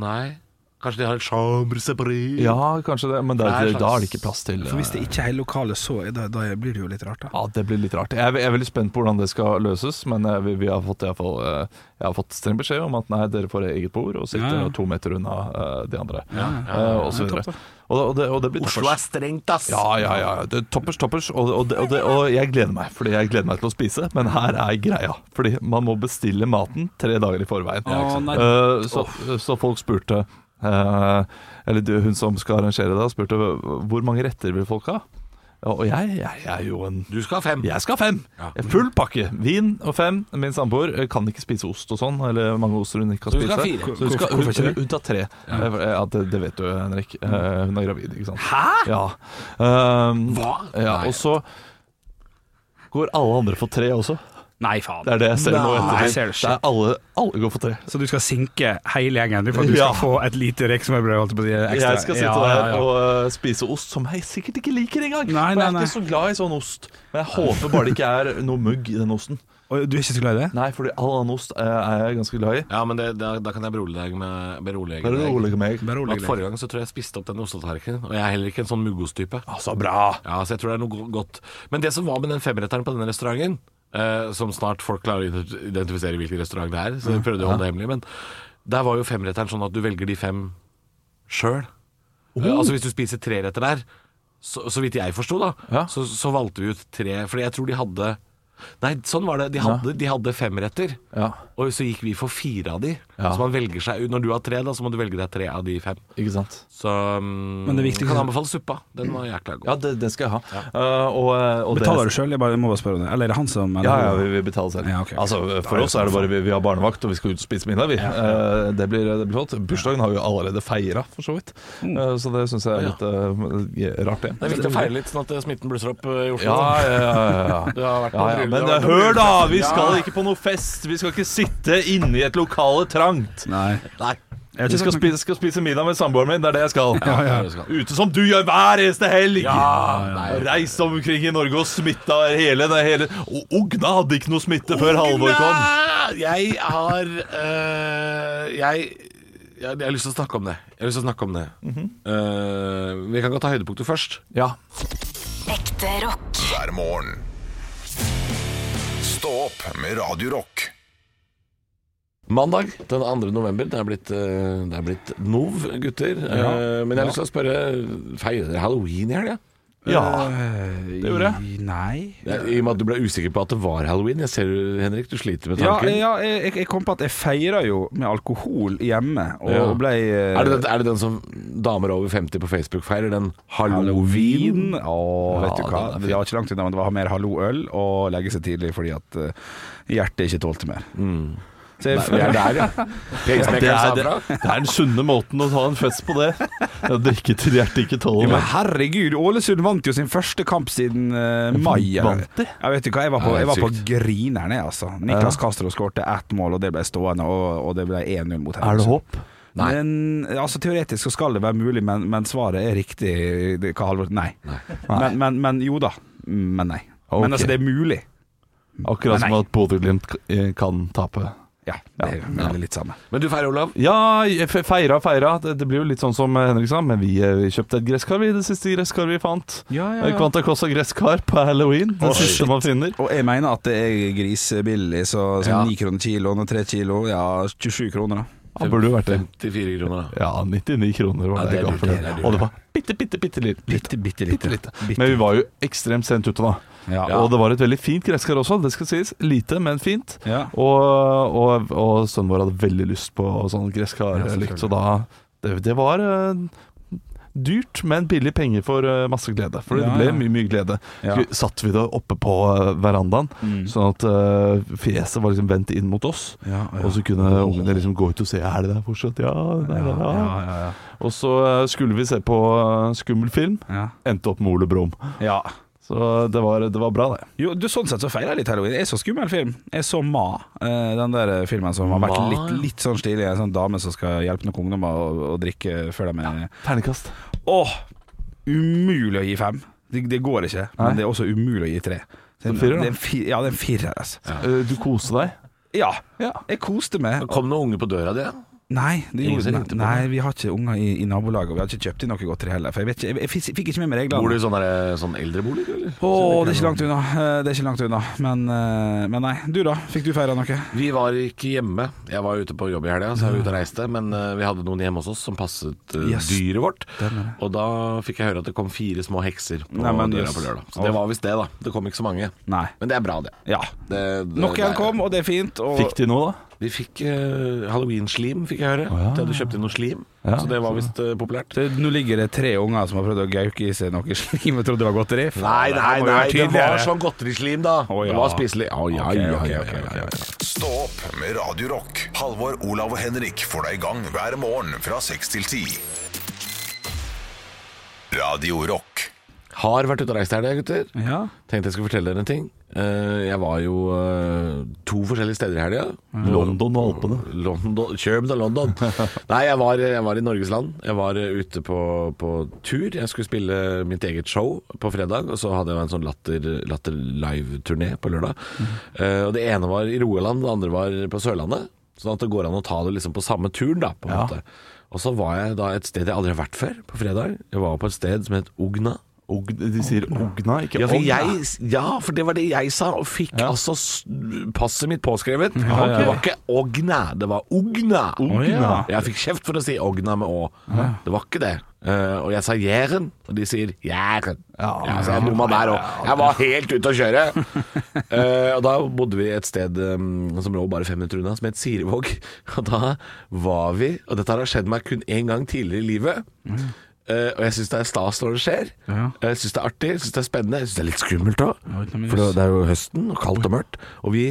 [SPEAKER 5] Nei. Kanskje de har en chambre separé?
[SPEAKER 3] Ja, kanskje det, men det,
[SPEAKER 5] Det er en
[SPEAKER 3] da
[SPEAKER 5] slags-
[SPEAKER 3] er det ikke plass til eh,
[SPEAKER 4] For hvis det ikke er hele lokalet, så er det, da blir det jo litt rart, da.
[SPEAKER 3] Ja, det blir litt rart. Jeg, er- jeg er veldig spent på hvordan det skal løses, men eh, vi, vi har fått, i hvert fall, eh, jeg har fått streng beskjed om at nei, dere får eget bord og sitter
[SPEAKER 4] Ja, ja.
[SPEAKER 3] to meter unna eh, de andre, eh, og så
[SPEAKER 4] Ja,
[SPEAKER 3] videre.
[SPEAKER 4] topp,
[SPEAKER 3] Og, og, det, og det blir
[SPEAKER 5] Oslo er
[SPEAKER 3] toppers.
[SPEAKER 5] strengt, ass!
[SPEAKER 3] Ja, ja, ja. Det er toppers, toppers. Og, og, det, og, det, og jeg gleder meg, fordi jeg gleder meg til å spise, men her er greia. Fordi man må bestille maten tre dager i forveien.
[SPEAKER 4] Å, nei.
[SPEAKER 3] Eh, så, så folk spurte eh, Eller du, hun som skal arrangere det, spurte hvor mange retter vil folk ha. Ja, Og jeg, jeg er jo en
[SPEAKER 5] Du skal ha fem.
[SPEAKER 3] Jeg skal ha fem! Full pakke. Vin og fem. Min samboer eh, kan ikke spise ost og sånn, eller mange oster hun ikke kan
[SPEAKER 5] Så hun skal
[SPEAKER 3] spise.
[SPEAKER 5] ha fire.
[SPEAKER 3] Så hun, skal,
[SPEAKER 4] Hvorfor- hvorfor
[SPEAKER 3] hun,
[SPEAKER 4] ikke det?
[SPEAKER 3] hun, hun tar tre. Eh, for- Ja, det, det vet du, Henrik. Eh, Hun er gravid, ikke sant. Hæ?! Ja. Um,
[SPEAKER 5] Hva?
[SPEAKER 3] Ja,
[SPEAKER 5] Nei.
[SPEAKER 3] og så går alle andre for tre også.
[SPEAKER 4] Nei, faen.
[SPEAKER 3] Det er det jeg ser nå
[SPEAKER 4] Nei,
[SPEAKER 3] ettertid.
[SPEAKER 4] ser du
[SPEAKER 3] Det er alle, alle går for tre.
[SPEAKER 4] Så du skal sinke hele gjengen for at du skal
[SPEAKER 3] Ja.
[SPEAKER 4] få et lite rekesmørbrød, holdt jeg på å si, ekstra?
[SPEAKER 3] Jeg skal sitte
[SPEAKER 4] Ja, ja, ja.
[SPEAKER 3] der og eh, spise ost som jeg sikkert ikke liker engang.
[SPEAKER 4] Nei,
[SPEAKER 3] for jeg
[SPEAKER 4] nei,
[SPEAKER 3] er
[SPEAKER 4] nei.
[SPEAKER 3] ikke så glad i sånn ost. Men jeg håper bare det ikke er noe mugg i den osten.
[SPEAKER 4] Og du er ikke så glad i det?
[SPEAKER 3] Nei, fordi all annen ost eh, er jeg ganske glad i.
[SPEAKER 5] Ja, men det, da, da kan jeg berolige deg med berolige
[SPEAKER 3] Bare
[SPEAKER 5] deg.
[SPEAKER 3] rolig meg.
[SPEAKER 5] At forrige gang så tror jeg jeg spiste opp den ostetallerkenen, og jeg er heller ikke en sånn muggostype.
[SPEAKER 3] Altså, bra!
[SPEAKER 5] Ja, så jeg tror det er noe go- godt. Men det som var med den femretteren på denne restauranten, eh, som snart folk klarer å ident- identifisere hvilken restaurant det er, så de prøvde å holde det hemmelig, men der var jo femretteren sånn at du velger de fem sjøl. Eh,
[SPEAKER 3] Oh.
[SPEAKER 5] altså hvis du spiser tre retter der, så, så vidt jeg forsto da,
[SPEAKER 3] Ja.
[SPEAKER 5] så, så valgte vi ut tre, fordi jeg tror de hadde Nei, sånn var det. De hadde, de hadde fem retter,
[SPEAKER 3] Ja.
[SPEAKER 5] og så gikk vi for fire av de.
[SPEAKER 3] Ja.
[SPEAKER 5] Så man velger seg ut Når du har tre, da, så må du velge deg tre av de fem.
[SPEAKER 3] Ikke sant?
[SPEAKER 5] Så mm,
[SPEAKER 4] Men det viktigste-
[SPEAKER 5] kan anbefale suppa. Den var jækla god.
[SPEAKER 3] Ja, det, det skal jeg ha. Eh, og, eh, og det-
[SPEAKER 4] Betaler du sjøl? Jeg bare må bare spørre om det. Eller er det han som eller-
[SPEAKER 3] Ja, ja, vi, vi betaler selv.
[SPEAKER 4] Ja, ok, ok.
[SPEAKER 3] Altså, For oss er det bare vi, vi har barnevakt, og vi skal ut og spise middag, vi. Eh, det, blir, det blir flott. Bursdagen har vi jo allerede feira, for så vidt.
[SPEAKER 4] Mm.
[SPEAKER 3] Eh, så det syns jeg er litt eh, rart, det.
[SPEAKER 5] Det er viktig å feire litt, sånn at smitten blusser opp eh, i Oslo.
[SPEAKER 3] Ja,
[SPEAKER 5] da.
[SPEAKER 3] ja, ja, ja.
[SPEAKER 5] Du har vært på
[SPEAKER 3] ja, ja.
[SPEAKER 5] bryllup,
[SPEAKER 3] Men eh,
[SPEAKER 5] du har vært på
[SPEAKER 3] hør, da!
[SPEAKER 5] bryllupsfest.
[SPEAKER 3] Vi skal
[SPEAKER 5] Ja.
[SPEAKER 3] ikke på noe fest. Vi skal ikke sitte inne i et lokale trangt.
[SPEAKER 4] Nei.
[SPEAKER 5] Nei.
[SPEAKER 3] Jeg
[SPEAKER 4] har ikke
[SPEAKER 3] skal
[SPEAKER 4] sett noe-
[SPEAKER 3] spise, skal spise middag med samboeren min, det er det jeg skal.
[SPEAKER 4] ja.
[SPEAKER 3] Ute som du gjør hver eneste helg! Reist omkring i Norge og smitta hele, det hele. Og Ogna hadde ikke noe smitte før Halvor kom.
[SPEAKER 5] Jeg har øh, jeg, jeg, jeg har lyst til å snakke om det. Jeg har lyst til å snakke om det
[SPEAKER 3] Mhm.
[SPEAKER 5] Øh, Vi kan godt ta høydepunktet først.
[SPEAKER 3] Ja.
[SPEAKER 2] Ekte rock.
[SPEAKER 1] hver morgen. Stå opp med Radio Rock.
[SPEAKER 5] Mandag den 2. november. Det er blitt, øh, det er blitt nov, gutter. Øh, men jeg har lyst til å spørre Feirer dere halloween i helga?
[SPEAKER 3] ja.
[SPEAKER 4] Eh,
[SPEAKER 3] Det gjorde
[SPEAKER 4] Nei.
[SPEAKER 5] Ja. I og med at du ble usikker på at det var halloween. Jeg ser du, Henrik, du sliter med
[SPEAKER 4] Ja,
[SPEAKER 5] tanken.
[SPEAKER 4] ja jeg, jeg kom på at jeg feira jo med alkohol hjemme, og
[SPEAKER 5] Ja.
[SPEAKER 4] ble eh,
[SPEAKER 5] Er, det, den- er det den som damer over 50 på Facebook feirer? Den
[SPEAKER 4] Halloween.
[SPEAKER 5] halloween?
[SPEAKER 4] Å, vet
[SPEAKER 5] Ja,
[SPEAKER 4] du hva.
[SPEAKER 5] den er fin.
[SPEAKER 4] Det var ikke langt unna, men det var mer halloøl og legge seg tidlig fordi at eh, hjertet ikke tålte mer. Så jeg,
[SPEAKER 5] Mm. Vi er der, ja.
[SPEAKER 3] Det
[SPEAKER 5] Pacemakeren
[SPEAKER 3] er,
[SPEAKER 5] sa
[SPEAKER 3] det,
[SPEAKER 5] bra.
[SPEAKER 3] det er den sunne måten å ta en fest på, det. Å drikke til hjertet ikke
[SPEAKER 4] Jo,
[SPEAKER 3] tåler
[SPEAKER 4] men
[SPEAKER 3] mer.
[SPEAKER 4] herregud, Ålesund vant jo sin første kamp siden eh, mai. eller?
[SPEAKER 3] Vant de?
[SPEAKER 4] Jeg vet ikke hva, jeg var på,
[SPEAKER 5] Ja, det er
[SPEAKER 4] jeg var på
[SPEAKER 5] sykt.
[SPEAKER 4] grineren, jeg, altså. Niklas Castro skårte ett mål, og det ble stående, og, og det ble 1-0 mot
[SPEAKER 3] Er det håp?
[SPEAKER 5] Nei.
[SPEAKER 4] Men, altså, teoretisk så skal det være mulig, men, men svaret er riktig. Det, hva Halvor Nei. Men, men, men jo da. Men nei.
[SPEAKER 3] Ok.
[SPEAKER 4] Men altså, det er mulig.
[SPEAKER 3] Akkurat som
[SPEAKER 4] Mm. Nei.
[SPEAKER 3] at Bodø-Glimt eh, kan tape.
[SPEAKER 4] Ja, det er veldig litt samme.
[SPEAKER 5] Men du feirer, Olav.
[SPEAKER 3] Ja, jeg fe- feira, feira. Det, det blir jo litt sånn som Henrik sa, men vi, eh, vi kjøpte et gresskar, vi. Det siste gresskar vi fant.
[SPEAKER 4] Ja, ja,
[SPEAKER 3] Eh,
[SPEAKER 4] ja.
[SPEAKER 3] Quanta Costa gresskar på halloween. Det siste man finner.
[SPEAKER 4] Og jeg mener at det er grisebillig, så
[SPEAKER 5] Ja.
[SPEAKER 4] sånn 9 kroner kiloen og 3 kilo, ja 27 kroner da.
[SPEAKER 3] Han burde jo vært det.
[SPEAKER 5] 54 kroner, da.
[SPEAKER 3] Ja, 99 kroner var
[SPEAKER 5] Ja,
[SPEAKER 3] det,
[SPEAKER 5] det er
[SPEAKER 3] jeg ga
[SPEAKER 5] dyrt,
[SPEAKER 3] for
[SPEAKER 5] det
[SPEAKER 3] det.
[SPEAKER 5] er dyrt.
[SPEAKER 3] Og det var bitte, bitte, bitte litt.
[SPEAKER 4] Bitte, bitte lite. Bitte.
[SPEAKER 3] Men vi var jo ekstremt sent ute da.
[SPEAKER 4] Ja.
[SPEAKER 3] Og det var et veldig fint gresskar også, det skal sies. Lite, men fint.
[SPEAKER 4] Ja.
[SPEAKER 3] Og, og, og sønnen vår hadde veldig lyst på sånn gresskarlykt, så da Det, det var eh, dyrt, men billig penger for eh, masse glede. For
[SPEAKER 4] Ja,
[SPEAKER 3] det ble
[SPEAKER 4] ja.
[SPEAKER 3] mye, mye glede.
[SPEAKER 4] Ja. Mm.
[SPEAKER 3] Skulle- Satt vi da oppe på eh, verandaen, sånn at eh, fjeset var liksom vendt inn mot oss.
[SPEAKER 4] Ja, ja.
[SPEAKER 3] Og så kunne ungene liksom gå ut og se Er det der fortsatt. Ja, der, der,
[SPEAKER 4] Ja,
[SPEAKER 3] ja.
[SPEAKER 4] ja, ja.
[SPEAKER 3] Og så eh, skulle vi se på eh, skummel film.
[SPEAKER 4] ja.
[SPEAKER 3] Endte opp med Ole Brumm.
[SPEAKER 4] ja.
[SPEAKER 3] Så det var, det var bra, det.
[SPEAKER 4] Jo, du, sånn sett så feirer jeg litt halloween. Jeg så skummel film. Jeg så Ma, eh, den der eh, filmen som har vært
[SPEAKER 5] Ma,
[SPEAKER 4] litt, litt sånn stilig. En sånn dame som skal hjelpe noen ungdommer å, å drikke før de er
[SPEAKER 3] Ternekast.
[SPEAKER 4] Åh, umulig å gi fem. Det, det går ikke,
[SPEAKER 3] Nei.
[SPEAKER 4] men det er også umulig å gi tre. Det er en
[SPEAKER 3] firer, da?
[SPEAKER 4] det er en fi- Ja, det er en firer, altså.
[SPEAKER 3] Eh, Du koste deg.
[SPEAKER 4] Ja.
[SPEAKER 3] Ja.
[SPEAKER 4] Jeg koste meg.
[SPEAKER 5] Kom noen unge på døra di?
[SPEAKER 4] Nei, det
[SPEAKER 5] Ingen
[SPEAKER 4] gjorde,
[SPEAKER 5] som
[SPEAKER 4] nei,
[SPEAKER 5] ringte på
[SPEAKER 4] nei, vi har ikke unger i, i nabolaget, og vi har ikke kjøpt inn noe godteri heller. For jeg, vet ikke, jeg, jeg fikk- fikk ikke med meg reglene.
[SPEAKER 5] Bor du i sånn, der- sånn eldrebolig, du, eller?
[SPEAKER 4] Å, det er ikke langt unna. Eh, Det er ikke langt unna. Men, eh, men nei. Du, da? Fikk du feira noe?
[SPEAKER 5] Vi var ikke hjemme. Jeg var ute på jobb i helga, så jeg var ute og reiste. Men eh, vi hadde noen hjemme hos oss som passet eh,
[SPEAKER 4] Yes.
[SPEAKER 5] dyret vårt.
[SPEAKER 4] Stemmer
[SPEAKER 5] Og da fikk jeg høre at det kom fire små hekser på
[SPEAKER 4] Nei, men
[SPEAKER 5] døra
[SPEAKER 4] yes.
[SPEAKER 5] på lørdag. Så det var visst det, da. Det kom ikke så mange.
[SPEAKER 4] Nei.
[SPEAKER 5] Men det er bra, det.
[SPEAKER 4] Ja.
[SPEAKER 5] det, det
[SPEAKER 4] Nok
[SPEAKER 5] det
[SPEAKER 4] en
[SPEAKER 5] er-
[SPEAKER 4] kom, og det er fint. Og
[SPEAKER 3] Fikk de noe, da?
[SPEAKER 5] Vi fikk eh, halloween-slim, fikk jeg høre. De hadde kjøpt inn noe slim,
[SPEAKER 3] Ja.
[SPEAKER 5] så det var visst eh, populært.
[SPEAKER 4] det, nå ligger det tre unger som har prøvd å gauke i seg noe slim og trodde det var godteri. Faen, det her må jo være
[SPEAKER 5] det var
[SPEAKER 4] tydeligere.
[SPEAKER 5] sånn godterislim, da.
[SPEAKER 4] Å, ja.
[SPEAKER 5] Det var spiselig. Å,
[SPEAKER 4] Ok,
[SPEAKER 5] ja, ja,
[SPEAKER 4] ok,
[SPEAKER 5] ja,
[SPEAKER 4] ok,
[SPEAKER 5] ja,
[SPEAKER 4] ok,
[SPEAKER 5] ja,
[SPEAKER 4] ok.
[SPEAKER 5] ja.
[SPEAKER 1] Stå opp med Radio Rock. Halvor, Olav og Henrik får deg i gang hver morgen fra 6 til 10. Radio Rock.
[SPEAKER 5] Har vært ute og reist her, det, gutter.
[SPEAKER 4] Ja.
[SPEAKER 5] Tenkte jeg skulle fortelle dere en ting. Eh, jeg var jo eh, to forskjellige steder i helga.
[SPEAKER 4] Mm.
[SPEAKER 3] London og Alpene.
[SPEAKER 5] London, Kjøben og London. Nei, jeg var, jeg var i Norges land. Jeg var eh, ute på, på tur. Jeg skulle spille mitt eget show på fredag, og så hadde jeg en sånn Latter, latter Live-turné på lørdag. Eh, og Det ene var i Rogaland, det andre var på Sørlandet. Sånn at det går an å ta det liksom på samme turen, da, på en måte. Og så var jeg da et sted jeg aldri har vært før, på fredag. Jeg var på et sted som het Ogna.
[SPEAKER 3] Og de sier Ogna, ikke
[SPEAKER 5] Ja for,
[SPEAKER 3] Ogna.
[SPEAKER 5] jeg, ja, for det var det jeg sa, og fikk altså s- passet mitt påskrevet. Det var ikke Ogna, det var Ogna.
[SPEAKER 4] ja.
[SPEAKER 5] Jeg fikk kjeft for å si Ogna med Å. Det var ikke det. Eh, og jeg sa Jæren, og de sier Jæren. Ja, så jeg bomma der òg. Jeg var helt ute å kjøre. Eh, og da bodde vi et sted eh, som lå bare fem minutter unna, som het Sirevåg. Og da var vi Og dette har skjedd meg kun én gang tidligere i livet. Eh, og jeg syns det er stas når det skjer. Eh,
[SPEAKER 4] Ja.
[SPEAKER 5] Jeg syns det er artig, jeg synes det er spennende. Jeg syns det er litt skummelt òg.
[SPEAKER 4] ikke noe
[SPEAKER 5] For det, det er jo høsten, og kaldt og mørkt. Og vi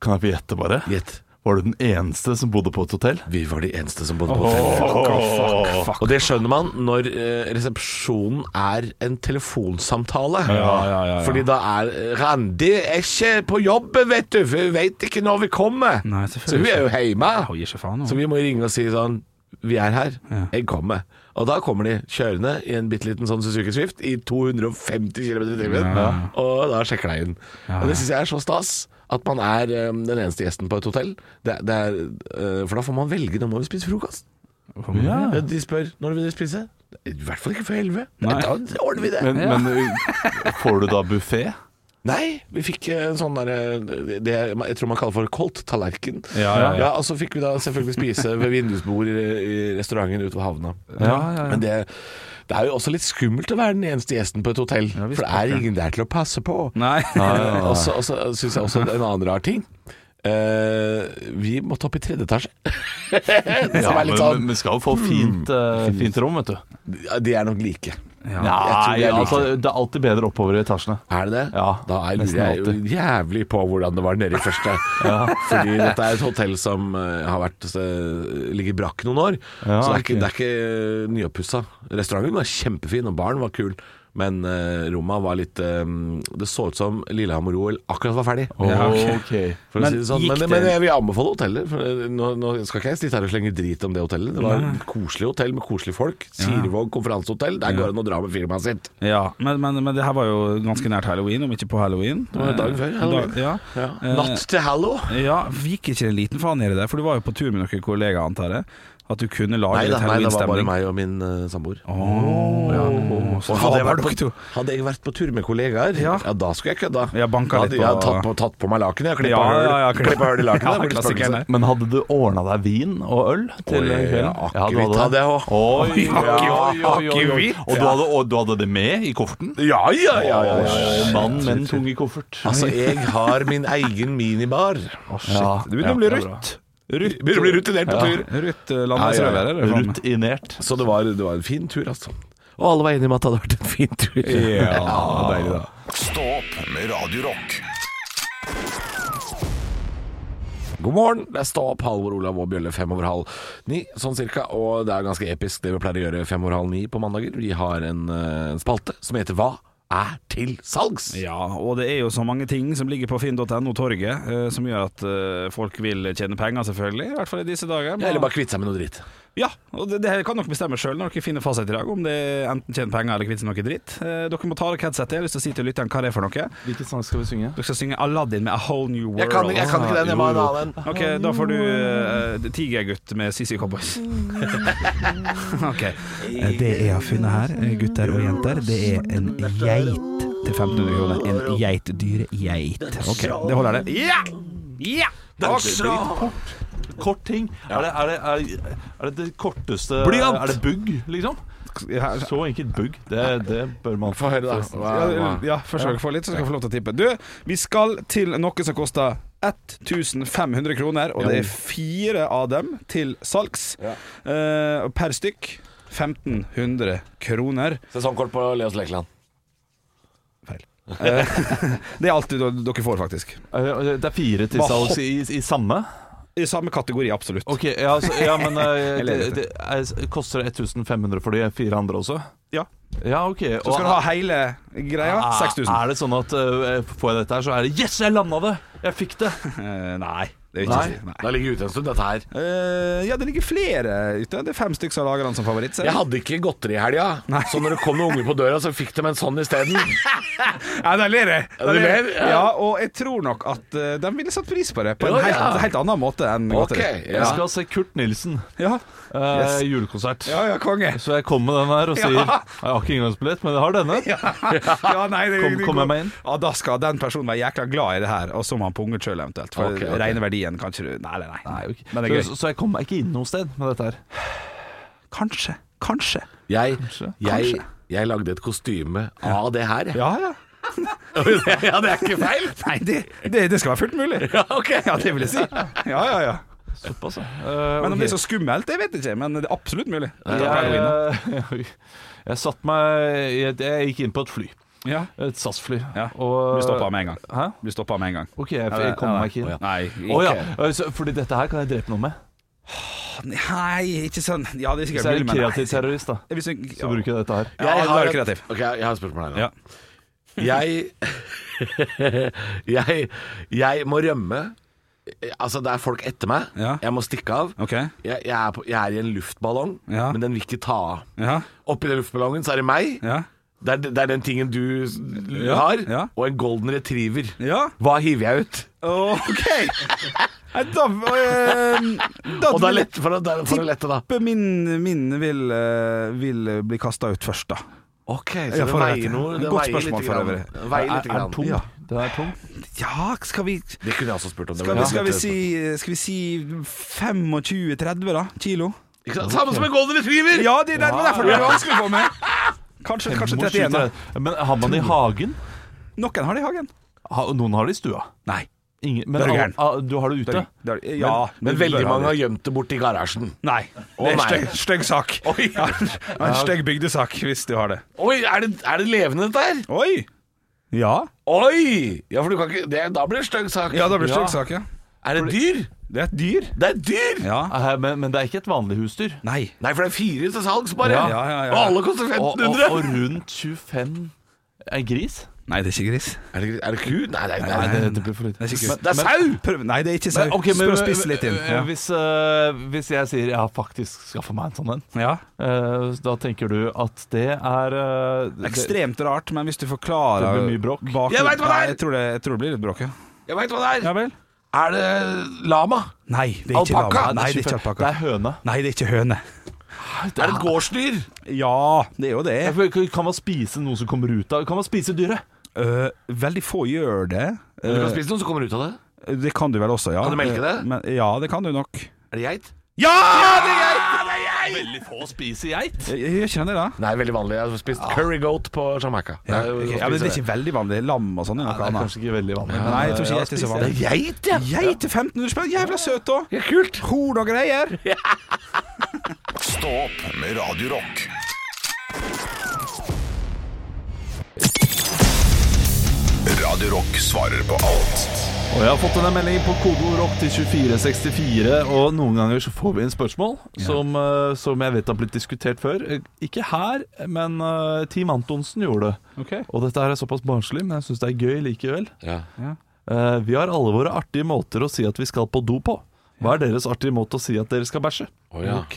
[SPEAKER 3] Kan jeg få gjette, bare?
[SPEAKER 5] Gjett.
[SPEAKER 3] Var du den eneste som bodde på et hotell?
[SPEAKER 5] Vi var de eneste som bodde på hotell. Og det skjønner man når eh, resepsjonen er en telefonsamtale.
[SPEAKER 4] ja, ja, ja.
[SPEAKER 5] Fordi da er eh, Randi er ikke på jobb, vet du, for hun vet ikke når vi kommer.
[SPEAKER 4] Nei,
[SPEAKER 5] så hun
[SPEAKER 4] selvfølgelig
[SPEAKER 5] er jo hjemme.
[SPEAKER 4] Jeg gir ikke faen. nå.
[SPEAKER 5] Så vi må ringe og si sånn vi er her,
[SPEAKER 4] Ja.
[SPEAKER 5] jeg kommer. Og da kommer de kjørende i en bitte liten sånn Suzuki Swift i 250 km i timen,
[SPEAKER 4] Ja.
[SPEAKER 5] og da sjekker de inn. Og det syns jeg er så stas. At man er øhm, den eneste gjesten på et hotell. Det, det er, øh, for da får man velge når man vil spise frokost.
[SPEAKER 4] Ja.
[SPEAKER 5] Ja, De spør når vil dere spise. I hvert fall ikke før elleve.
[SPEAKER 4] Nei.
[SPEAKER 5] Da ordner vi det.
[SPEAKER 3] Men,
[SPEAKER 4] Ja.
[SPEAKER 3] men får du da buffé?
[SPEAKER 5] Nei, vi fikk eh, en sånn derre Det jeg tror man kaller for kolt-tallerken.
[SPEAKER 3] Ja, ja, ja.
[SPEAKER 5] og så fikk vi da selvfølgelig spise ved vindusbord i, i restauranten ute ved havna.
[SPEAKER 3] Ja, ja, ja.
[SPEAKER 5] Men det, det er jo også litt skummelt å være den eneste gjesten på et hotell,
[SPEAKER 4] visst
[SPEAKER 5] for det er ingen der til å passe på.
[SPEAKER 4] Nei.
[SPEAKER 5] Eh, Og så syns jeg også en annen rar ting. Eh, vi måtte opp i tredje etasje. Som er litt sånn
[SPEAKER 3] men vi skal jo få fint, eh, fint rom, vet du.
[SPEAKER 5] ja, De er nok like.
[SPEAKER 3] Nei,
[SPEAKER 5] jeg tror vi er like.
[SPEAKER 3] altså, det er alltid bedre oppover i etasjene.
[SPEAKER 5] Er det det?
[SPEAKER 3] Ja,
[SPEAKER 5] da er lurer
[SPEAKER 3] nesten
[SPEAKER 5] jeg jo
[SPEAKER 3] alltid.
[SPEAKER 5] jævlig på hvordan det var nede i første. Fordi dette er et hotell som eh, har vært, eh, ligger brakk noen år.
[SPEAKER 3] Ja,
[SPEAKER 5] så det er ikke,
[SPEAKER 3] ok.
[SPEAKER 5] det er ikke eh, nyoppussa. Restauranten var kjempefin, og baren var kul. Men uh, romma var litt eh, Det så ut som Lillehammer-OL akkurat var ferdig.
[SPEAKER 4] Ja, ok.
[SPEAKER 5] For å
[SPEAKER 4] Men
[SPEAKER 5] si det sånn.
[SPEAKER 4] gikk
[SPEAKER 5] men,
[SPEAKER 4] det-
[SPEAKER 5] men jeg vil anbefale hotellet. For eh, nå, nå skal ikke jeg sitte her og slenge drit om det hotellet. Det var et koselig hotell med koselige folk. Sirevåg konferansehotell. Der går det an å dra med firmaet sitt.
[SPEAKER 4] Ja, men, men, men det her var jo ganske nært halloween, om ikke på halloween. Eh,
[SPEAKER 5] Det var dagen før halloween.
[SPEAKER 4] ja.
[SPEAKER 5] Ja.
[SPEAKER 4] Eh,
[SPEAKER 5] Natt til hallo.
[SPEAKER 4] ja, gikk ikke det en liten faen nedi der? For du var jo på tur med noen kollegaer, antar jeg. At du kunne lage
[SPEAKER 5] Nei, da,
[SPEAKER 4] litt
[SPEAKER 5] nei, det var bare
[SPEAKER 4] halloweenstemning.
[SPEAKER 5] meg og min eh, samboer.
[SPEAKER 4] Åh, ja. Åh, så
[SPEAKER 5] Og
[SPEAKER 4] faen,
[SPEAKER 5] hadde jeg,
[SPEAKER 4] var dere
[SPEAKER 5] vært på,
[SPEAKER 4] to.
[SPEAKER 5] hadde jeg vært på tur med kollegaer, ja,
[SPEAKER 4] Ja.
[SPEAKER 5] da skulle jeg kødda.
[SPEAKER 4] Ja, banka
[SPEAKER 5] Da hadde
[SPEAKER 4] litt på-
[SPEAKER 5] jeg tatt, på, tatt på meg lakenet, klippa
[SPEAKER 4] Ja, ja, ja,
[SPEAKER 5] hull, klippet hull i
[SPEAKER 4] Ja,
[SPEAKER 5] lakenet. det
[SPEAKER 4] klassikeren
[SPEAKER 5] ble
[SPEAKER 4] der.
[SPEAKER 3] Men hadde du ordna deg vin og øl til
[SPEAKER 5] Oi,
[SPEAKER 3] den kvelden?
[SPEAKER 5] akevitt
[SPEAKER 3] du
[SPEAKER 5] hadde jeg også.
[SPEAKER 3] Oi,
[SPEAKER 4] akevitt,
[SPEAKER 3] ja, oi, oi, oi.
[SPEAKER 4] akevitt.
[SPEAKER 3] Og du hadde, og du hadde det med i kofferten?
[SPEAKER 5] spøkelse. ja, ja, ja, ja, ja, ja.
[SPEAKER 3] Mann med en tung i koffert.
[SPEAKER 5] Altså, jeg har min egen minibar.
[SPEAKER 3] Ja,
[SPEAKER 4] Det begynner å
[SPEAKER 3] ja,
[SPEAKER 4] bli
[SPEAKER 3] det er bra.
[SPEAKER 4] rutt.
[SPEAKER 5] Begynner å bli rutinert på tur.
[SPEAKER 4] Rutt eh, landets
[SPEAKER 5] Ja, ja, ja.
[SPEAKER 4] røver, eller?
[SPEAKER 3] sånn?
[SPEAKER 4] faen?
[SPEAKER 3] Rutinert.
[SPEAKER 5] Så det var, det var en fin tur, altså. Og alle var enige om at det hadde vært en fin tur.
[SPEAKER 4] Ja, deilig, da.
[SPEAKER 1] Stå opp med Radio Rock.
[SPEAKER 5] God morgen, det er Stå opp, Halvor Olav og Bjølle fem over halv ni, sånn cirka. Og det er ganske episk det vi pleier å gjøre fem over halv ni på mandager. Vi har en, eh, en spalte som heter Hva er til salgs?
[SPEAKER 4] Ja, og det er jo så mange ting som ligger på finn.no torget, eh, som gjør at eh, folk vil tjene penger, selvfølgelig. I hvert fall i disse dager.
[SPEAKER 5] Eller bare kvitte seg med noe dritt.
[SPEAKER 4] Ja, og det, det her kan dere bestemme sjøl når dere finner fasit i dag, om det er enten tjener penger eller kvitter noe dritt. Eh, dere må ta dere headsetet. Jeg har lyst til å si til lytteren hva det er for noe.
[SPEAKER 3] Hvilken sang skal vi synge?
[SPEAKER 4] Dere skal synge Aladdin med A Whole New World.
[SPEAKER 5] den, jeg må ha en annen en.
[SPEAKER 4] Ok, da får du uh, Tigergutt med CC Cowboys. ok. Eh, Det jeg har funnet her, eh, gutter og jenter, det er en geit til 1500 kroner. En geitdyre geit. Ok, det holder det. Ja! Ja!
[SPEAKER 3] Kort, kort ting. Er, det, er, det, er, er det det korteste
[SPEAKER 4] Blyant!
[SPEAKER 3] Er det bugg, liksom? Så enkelt bugg. Det, det bør man
[SPEAKER 5] Få høre, da. Hva,
[SPEAKER 4] Ja,
[SPEAKER 5] hva?
[SPEAKER 4] ja, først skal dere få litt, så skal dere få lov til å tippe. Du, vi skal til noe som koster 1500 kroner, og det er fire av dem til salgs. Eh, og per stykk 1500 kroner.
[SPEAKER 5] Sesongkort på Leos Lekeland.
[SPEAKER 4] Det er alt du- dere får, faktisk.
[SPEAKER 3] Eh, Det er fire til
[SPEAKER 4] Hva
[SPEAKER 3] salgs i, i samme?
[SPEAKER 4] I samme kategori, absolutt.
[SPEAKER 3] Ok, ja, altså, ja men eh,
[SPEAKER 4] Jeg
[SPEAKER 3] det,
[SPEAKER 4] lever etter.
[SPEAKER 3] det, er, Koster det 1500 for de fire andre også?
[SPEAKER 4] Ja.
[SPEAKER 3] Ja, ok
[SPEAKER 4] Så skal du ha hele greia.
[SPEAKER 3] er-
[SPEAKER 4] 6000.
[SPEAKER 3] Er det sånn at eh, får jeg dette her, så er det Yes, jeg landa det! Jeg fikk det!
[SPEAKER 4] Eh, nei, det er
[SPEAKER 3] Nei.
[SPEAKER 4] ikke nei.
[SPEAKER 5] Da ligger jeg ute en stund, dette her.
[SPEAKER 4] Eh, ja, det ligger flere ute. Det er fem stykker som lager den som favoritt. ser
[SPEAKER 5] Jeg
[SPEAKER 4] jeg.
[SPEAKER 5] hadde ikke godteri i helga, så når det kom noen unger på døra, så fikk de en sånn isteden.
[SPEAKER 4] Ja, de ler jeg.
[SPEAKER 5] Ja, de ler, ja.
[SPEAKER 4] Ja, og jeg tror nok at eh, de ville satt pris på det på en
[SPEAKER 5] Ja,
[SPEAKER 4] helt,
[SPEAKER 5] ja.
[SPEAKER 4] helt annen måte enn
[SPEAKER 5] Ok,
[SPEAKER 4] godteri.
[SPEAKER 5] ja.
[SPEAKER 3] Jeg skal se Kurt Nilsen,
[SPEAKER 4] Ja.
[SPEAKER 3] eh, julekonsert.
[SPEAKER 4] ja, ja, konge.
[SPEAKER 3] Så jeg kom med den her og sier
[SPEAKER 4] Ja.
[SPEAKER 3] Jeg har ikke inngangsbillett, men jeg har denne.
[SPEAKER 4] Ja, nei, det,
[SPEAKER 3] Kom-
[SPEAKER 4] det-
[SPEAKER 3] kom jeg meg inn?
[SPEAKER 4] Ja, da skal den personen være jækla glad i det her, og så må han punge ut sjøl eventuelt. For
[SPEAKER 5] Ok, ok.
[SPEAKER 4] rene verdien kan ikke du Nei, nei, nei.
[SPEAKER 3] Nei, ok.
[SPEAKER 4] Men det er
[SPEAKER 3] så,
[SPEAKER 4] gøy.
[SPEAKER 3] så jeg kom meg ikke inn noe sted med dette her.
[SPEAKER 4] Kanskje. Kanskje.
[SPEAKER 5] Jeg,
[SPEAKER 3] Kanskje.
[SPEAKER 5] jeg, jeg lagde et kostyme av det her. jeg.
[SPEAKER 4] Ja, ja.
[SPEAKER 5] Ja, det er ikke feil!
[SPEAKER 4] Nei, det, det, det skal være fullt mulig.
[SPEAKER 5] Ja, ok.
[SPEAKER 4] Ja, det vil jeg si. Ja, ja, ja.
[SPEAKER 3] Såpass, ja.
[SPEAKER 4] Men om det er så skummelt, det vet jeg ikke, men det er absolutt mulig.
[SPEAKER 3] jeg, jeg, eh, jeg satt meg jeg, jeg gikk inn på et fly.
[SPEAKER 4] Ja.
[SPEAKER 3] Et SAS-fly.
[SPEAKER 4] Ja.
[SPEAKER 3] og-
[SPEAKER 4] Blir stoppa med en gang.
[SPEAKER 3] Hæ?
[SPEAKER 4] Blir stoppa med en gang.
[SPEAKER 3] OK, jeg, jeg kom meg ikke inn.
[SPEAKER 4] Nei,
[SPEAKER 3] Å ja. Eh, så- Fordi dette her kan jeg drepe noen med.
[SPEAKER 4] Nei, ikke sånn Ja, det er
[SPEAKER 3] Hvis
[SPEAKER 4] sikkert
[SPEAKER 3] jeg er
[SPEAKER 4] mulig,
[SPEAKER 3] en
[SPEAKER 4] men
[SPEAKER 3] kreativ terrorist, da,
[SPEAKER 4] Hvis jeg,
[SPEAKER 3] så bruker jeg dette her.
[SPEAKER 4] Ja,
[SPEAKER 5] Jeg
[SPEAKER 4] da
[SPEAKER 5] har
[SPEAKER 4] er du
[SPEAKER 5] et-
[SPEAKER 4] kreativ.
[SPEAKER 5] Ok, jeg har et spørsmål her.
[SPEAKER 4] Ja.
[SPEAKER 5] da. Jeg, jeg Jeg må rømme Altså, det er folk etter meg.
[SPEAKER 4] Ja.
[SPEAKER 5] Jeg må stikke av.
[SPEAKER 4] Ok.
[SPEAKER 5] Jeg, jeg, er på, jeg er i en luftballong,
[SPEAKER 4] Ja.
[SPEAKER 5] men den vil ikke ta av.
[SPEAKER 4] Ja.
[SPEAKER 5] Oppi den luftballongen så er det meg.
[SPEAKER 4] Ja.
[SPEAKER 5] Det, er, det er den tingen du s-
[SPEAKER 4] Ja,
[SPEAKER 5] har,
[SPEAKER 4] ja.
[SPEAKER 5] og en golden retriever.
[SPEAKER 4] ja.
[SPEAKER 5] Hva hiver jeg ut?
[SPEAKER 4] Ok. Nei, Da, eh, da
[SPEAKER 5] Og da
[SPEAKER 4] vil jeg
[SPEAKER 5] lett, for, å, da- for å lette, da.
[SPEAKER 4] tippe min, min vil, eh, vil bli kasta ut først, da.
[SPEAKER 5] Ok,
[SPEAKER 4] Ja,
[SPEAKER 5] så det
[SPEAKER 4] for å rette.
[SPEAKER 5] veier noe. Det
[SPEAKER 4] Godt
[SPEAKER 5] veier
[SPEAKER 4] spørsmål
[SPEAKER 5] litt
[SPEAKER 4] for
[SPEAKER 5] grann.
[SPEAKER 4] øvrig.
[SPEAKER 5] Det Veier litt grann.
[SPEAKER 4] Ja.
[SPEAKER 3] Den er tung.
[SPEAKER 4] ja, skal vi
[SPEAKER 5] Det kunne jeg også spurt om. det
[SPEAKER 4] skal
[SPEAKER 5] var
[SPEAKER 4] vi, skal vi
[SPEAKER 5] litt-
[SPEAKER 4] si, skal vi si 25-30 da, kilo?
[SPEAKER 5] Ikke sant? Samme som en golden retriever!
[SPEAKER 4] Ja, det, det, det var derfor det var vanskelig for meg. Kanskje, kanskje 31. da.
[SPEAKER 3] Men har man det i hagen?
[SPEAKER 4] Noen har det i hagen.
[SPEAKER 3] Ha, noen har det i stua.
[SPEAKER 4] Nei.
[SPEAKER 3] Ingen, men
[SPEAKER 4] Da er du
[SPEAKER 3] alle-
[SPEAKER 4] gæren.
[SPEAKER 3] ah, du har det ute?
[SPEAKER 4] Det er, ja,
[SPEAKER 5] Men veldig mange har gjemt det bort i garasjen.
[SPEAKER 4] Nei.
[SPEAKER 5] Å,
[SPEAKER 4] Det er
[SPEAKER 5] nei.
[SPEAKER 4] stygg, stygg sak.
[SPEAKER 5] Oi,
[SPEAKER 4] Ja, en stygg bygdesak, hvis du har det.
[SPEAKER 5] Oi er, det, er det levende dette her?
[SPEAKER 4] Oi! Ja.
[SPEAKER 5] Oi! Ja, for du kan ikke det, Da blir det stygg sak.
[SPEAKER 4] Ja, det blir
[SPEAKER 5] Ja.
[SPEAKER 4] stygg sak, ja.
[SPEAKER 5] Er det dyr?
[SPEAKER 4] Det er et dyr.
[SPEAKER 5] Det er dyr!
[SPEAKER 4] Ja.
[SPEAKER 3] Eh, Men, men det er ikke et vanlig husdyr.
[SPEAKER 4] Nei.
[SPEAKER 5] Nei, for det er fire til salgs, bare.
[SPEAKER 4] Ja, ja, ja, ja.
[SPEAKER 5] Og alle koster
[SPEAKER 3] Og, og, og
[SPEAKER 5] 1500.
[SPEAKER 3] rundt 25 En gris?
[SPEAKER 4] Nei, det er ikke gris.
[SPEAKER 5] Er, det, er det ku? Nei, nei, nei,
[SPEAKER 4] Nei,
[SPEAKER 5] nei.
[SPEAKER 3] det blir for lite.
[SPEAKER 4] Det er ikke
[SPEAKER 5] Men
[SPEAKER 4] gris.
[SPEAKER 5] det er sau!
[SPEAKER 4] Prøv, nei, det er ikke sau.
[SPEAKER 3] Eh, Ok, men,
[SPEAKER 4] Spør spiss litt inn.
[SPEAKER 3] eh, hvis, eh, hvis jeg sier 'jeg har faktisk skaffa meg en sånn en',
[SPEAKER 4] Ja.
[SPEAKER 3] eh, da tenker du at det er eh, det-
[SPEAKER 4] Ekstremt rart, men hvis du forklarer
[SPEAKER 3] Det blir mye bråk.
[SPEAKER 4] bak-
[SPEAKER 5] Jeg vet hva det er!
[SPEAKER 4] Nei, Jeg tror det, jeg tror det blir litt bråk, ja.
[SPEAKER 5] Jeg veit hva det
[SPEAKER 4] Ja
[SPEAKER 5] er.
[SPEAKER 4] vel?
[SPEAKER 5] Er det lama?
[SPEAKER 4] Nei, det er ikke
[SPEAKER 5] Alpakka?
[SPEAKER 4] lama. Nei,
[SPEAKER 3] Det
[SPEAKER 4] det er ikke
[SPEAKER 3] Det
[SPEAKER 4] alpakka.
[SPEAKER 3] er høne.
[SPEAKER 4] Nei, det er ikke høne.
[SPEAKER 5] Er det et gårdsdyr?
[SPEAKER 4] Ja, det er jo det.
[SPEAKER 3] Jeg føler ikke- Kan man spise noe som kommer ut av Kan man spise dyret?
[SPEAKER 4] Øh, veldig få gjør det.
[SPEAKER 5] Du kan
[SPEAKER 4] Øh,
[SPEAKER 5] spise noen som kommer ut av det.
[SPEAKER 4] det kan du vel også, ja. Eh,
[SPEAKER 5] Kan du melke det?
[SPEAKER 4] Men, ja, det kan du nok.
[SPEAKER 5] Er det geit?
[SPEAKER 4] Ja!
[SPEAKER 3] Veldig få spiser geit.
[SPEAKER 4] Jeg, jeg gjør ikke det, da.
[SPEAKER 5] Nei, veldig vanlig. Jeg har spist curry goat på Jamaica.
[SPEAKER 4] Ja,
[SPEAKER 5] Det er jo-
[SPEAKER 4] ok, ja, men det er ikke veldig vanlig. Lam og sånn er
[SPEAKER 3] Det
[SPEAKER 4] noe
[SPEAKER 3] er
[SPEAKER 4] annet.
[SPEAKER 3] kanskje ikke veldig vanlig.
[SPEAKER 4] Nei, jeg tror ikke geit er så
[SPEAKER 5] Det
[SPEAKER 4] vanlig.
[SPEAKER 5] er geit, ja!
[SPEAKER 4] Geit til 1500 spenn, jævla søt òg!
[SPEAKER 5] Ja, kult!
[SPEAKER 4] Horn og greier.
[SPEAKER 1] Stå opp med Radio Rock. Radio Rock svarer på alt.
[SPEAKER 3] Og jeg har fått en melding på kodeord rock til 2464, og noen ganger så får vi inn spørsmål som, eh, som jeg vet har blitt diskutert før. Eh, Ikke her, men eh, Team Antonsen gjorde det. Og dette her er såpass barnslig, men jeg syns det er gøy likevel. Eh, vi har alle våre artige måter å si at vi skal på do på. Hva er deres artige måte å si at dere skal bæsje?
[SPEAKER 5] Å, ja.
[SPEAKER 4] Ok.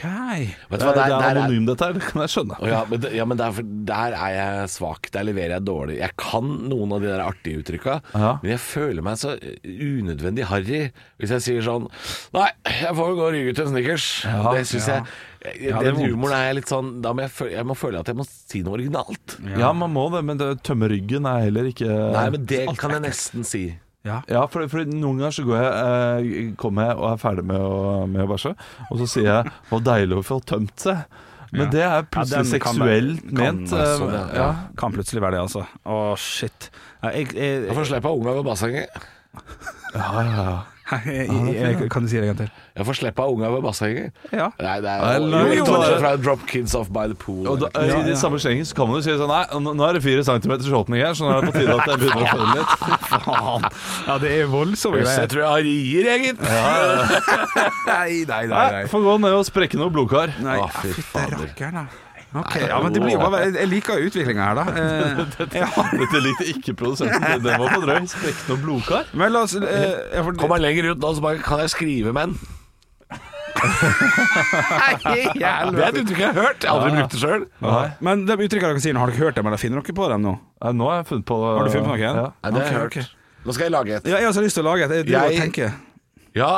[SPEAKER 3] Det
[SPEAKER 5] Vet du
[SPEAKER 3] er, det
[SPEAKER 5] hva, der,
[SPEAKER 3] er
[SPEAKER 5] der, er,
[SPEAKER 3] anonym, dette her. Det kan jeg skjønne.
[SPEAKER 5] Å, ja, men, det- ja, men der, der er jeg svak. Der leverer jeg dårlig. Jeg kan noen av de der artige uttrykka,
[SPEAKER 3] Ja.
[SPEAKER 5] men jeg føler meg så unødvendig harry hvis jeg sier sånn Nei, jeg får vel gå og ryge ut en snickers. det syns
[SPEAKER 4] ja.
[SPEAKER 5] jeg,
[SPEAKER 4] Ja, det er
[SPEAKER 5] Den
[SPEAKER 4] vondt.
[SPEAKER 5] humoren er jeg litt sånn Da må jeg, føle, jeg må føle at jeg må si noe originalt.
[SPEAKER 3] Ja. man må det, men det, tømme ryggen er heller ikke
[SPEAKER 5] Nei, men det kan jeg nesten si.
[SPEAKER 4] Ja.
[SPEAKER 3] Ja, for, for noen ganger så går jeg, eh, kommer jeg og er ferdig med å, med å bæsje, og så sier jeg 'hva deilig å få tømt seg'. Men
[SPEAKER 4] Ja.
[SPEAKER 3] det er
[SPEAKER 4] Ja,
[SPEAKER 3] plutselig
[SPEAKER 4] den kan-
[SPEAKER 3] seksuelt
[SPEAKER 4] kan
[SPEAKER 3] ment.
[SPEAKER 4] være
[SPEAKER 3] eh,
[SPEAKER 5] sånn, ja.
[SPEAKER 3] ja.
[SPEAKER 4] Kan plutselig være det, altså. Å, shit. Ja, Jeg, jeg,
[SPEAKER 5] Jeg får slippe av unga ved bassenget.
[SPEAKER 3] Ja, ja, ja.
[SPEAKER 4] jeg, jeg, jeg, kan du si det en gang til?
[SPEAKER 5] Jeg får slippe av unga ved bassenget.
[SPEAKER 4] Ja.
[SPEAKER 5] Nei, det
[SPEAKER 3] Nei,
[SPEAKER 5] er jo,
[SPEAKER 3] langt
[SPEAKER 5] jo,
[SPEAKER 3] over.
[SPEAKER 5] fra Drop Kids Off by the Pool.
[SPEAKER 3] Og da, eh,
[SPEAKER 5] eller-
[SPEAKER 3] I den samme slengen så kan man jo si sånn Nei, nå- nå er det fire centimeter skjåtning her, så nå er det på tide at jeg begynner å føle litt.
[SPEAKER 4] Faen. Ja, det er voldsomme
[SPEAKER 5] Jøss, jeg
[SPEAKER 4] greier.
[SPEAKER 5] tror jeg har rier, jeg, gitt.
[SPEAKER 4] Nei, nei, nei.
[SPEAKER 3] Nei, Få gå ned og sprekke noe blodkar. Ah,
[SPEAKER 4] Nei,
[SPEAKER 5] Å, fy fader.
[SPEAKER 4] rakkeren, da. Ok, ja, men det blir jo bare Jeg, jeg liker utviklinga her, da. Eh, ja.
[SPEAKER 3] Dette likte ikke produsenten. det- Den var på drøy. Sprekke noe blodkar?
[SPEAKER 4] Men la oss eh, jeg får-
[SPEAKER 5] Kom meg lenger ut nå, så bare kan jeg skrive med den. det er et uttrykk jeg har hørt. Jeg har aldri brukt det sjøl.
[SPEAKER 3] Nei.
[SPEAKER 4] Men de uttrykkene dere sier nå, har dere hørt dem, eller finner dere på dem nå?
[SPEAKER 3] Nei, Nå har jeg funnet på
[SPEAKER 4] Har du funnet på noe?
[SPEAKER 3] Ja.
[SPEAKER 5] Det har jeg
[SPEAKER 4] Ok,
[SPEAKER 5] hørt. Nå skal jeg lage et.
[SPEAKER 4] Ja, jeg har også lyst til å lage et. Jeg, driver og
[SPEAKER 5] Jeg-
[SPEAKER 4] tenker.
[SPEAKER 5] Ja,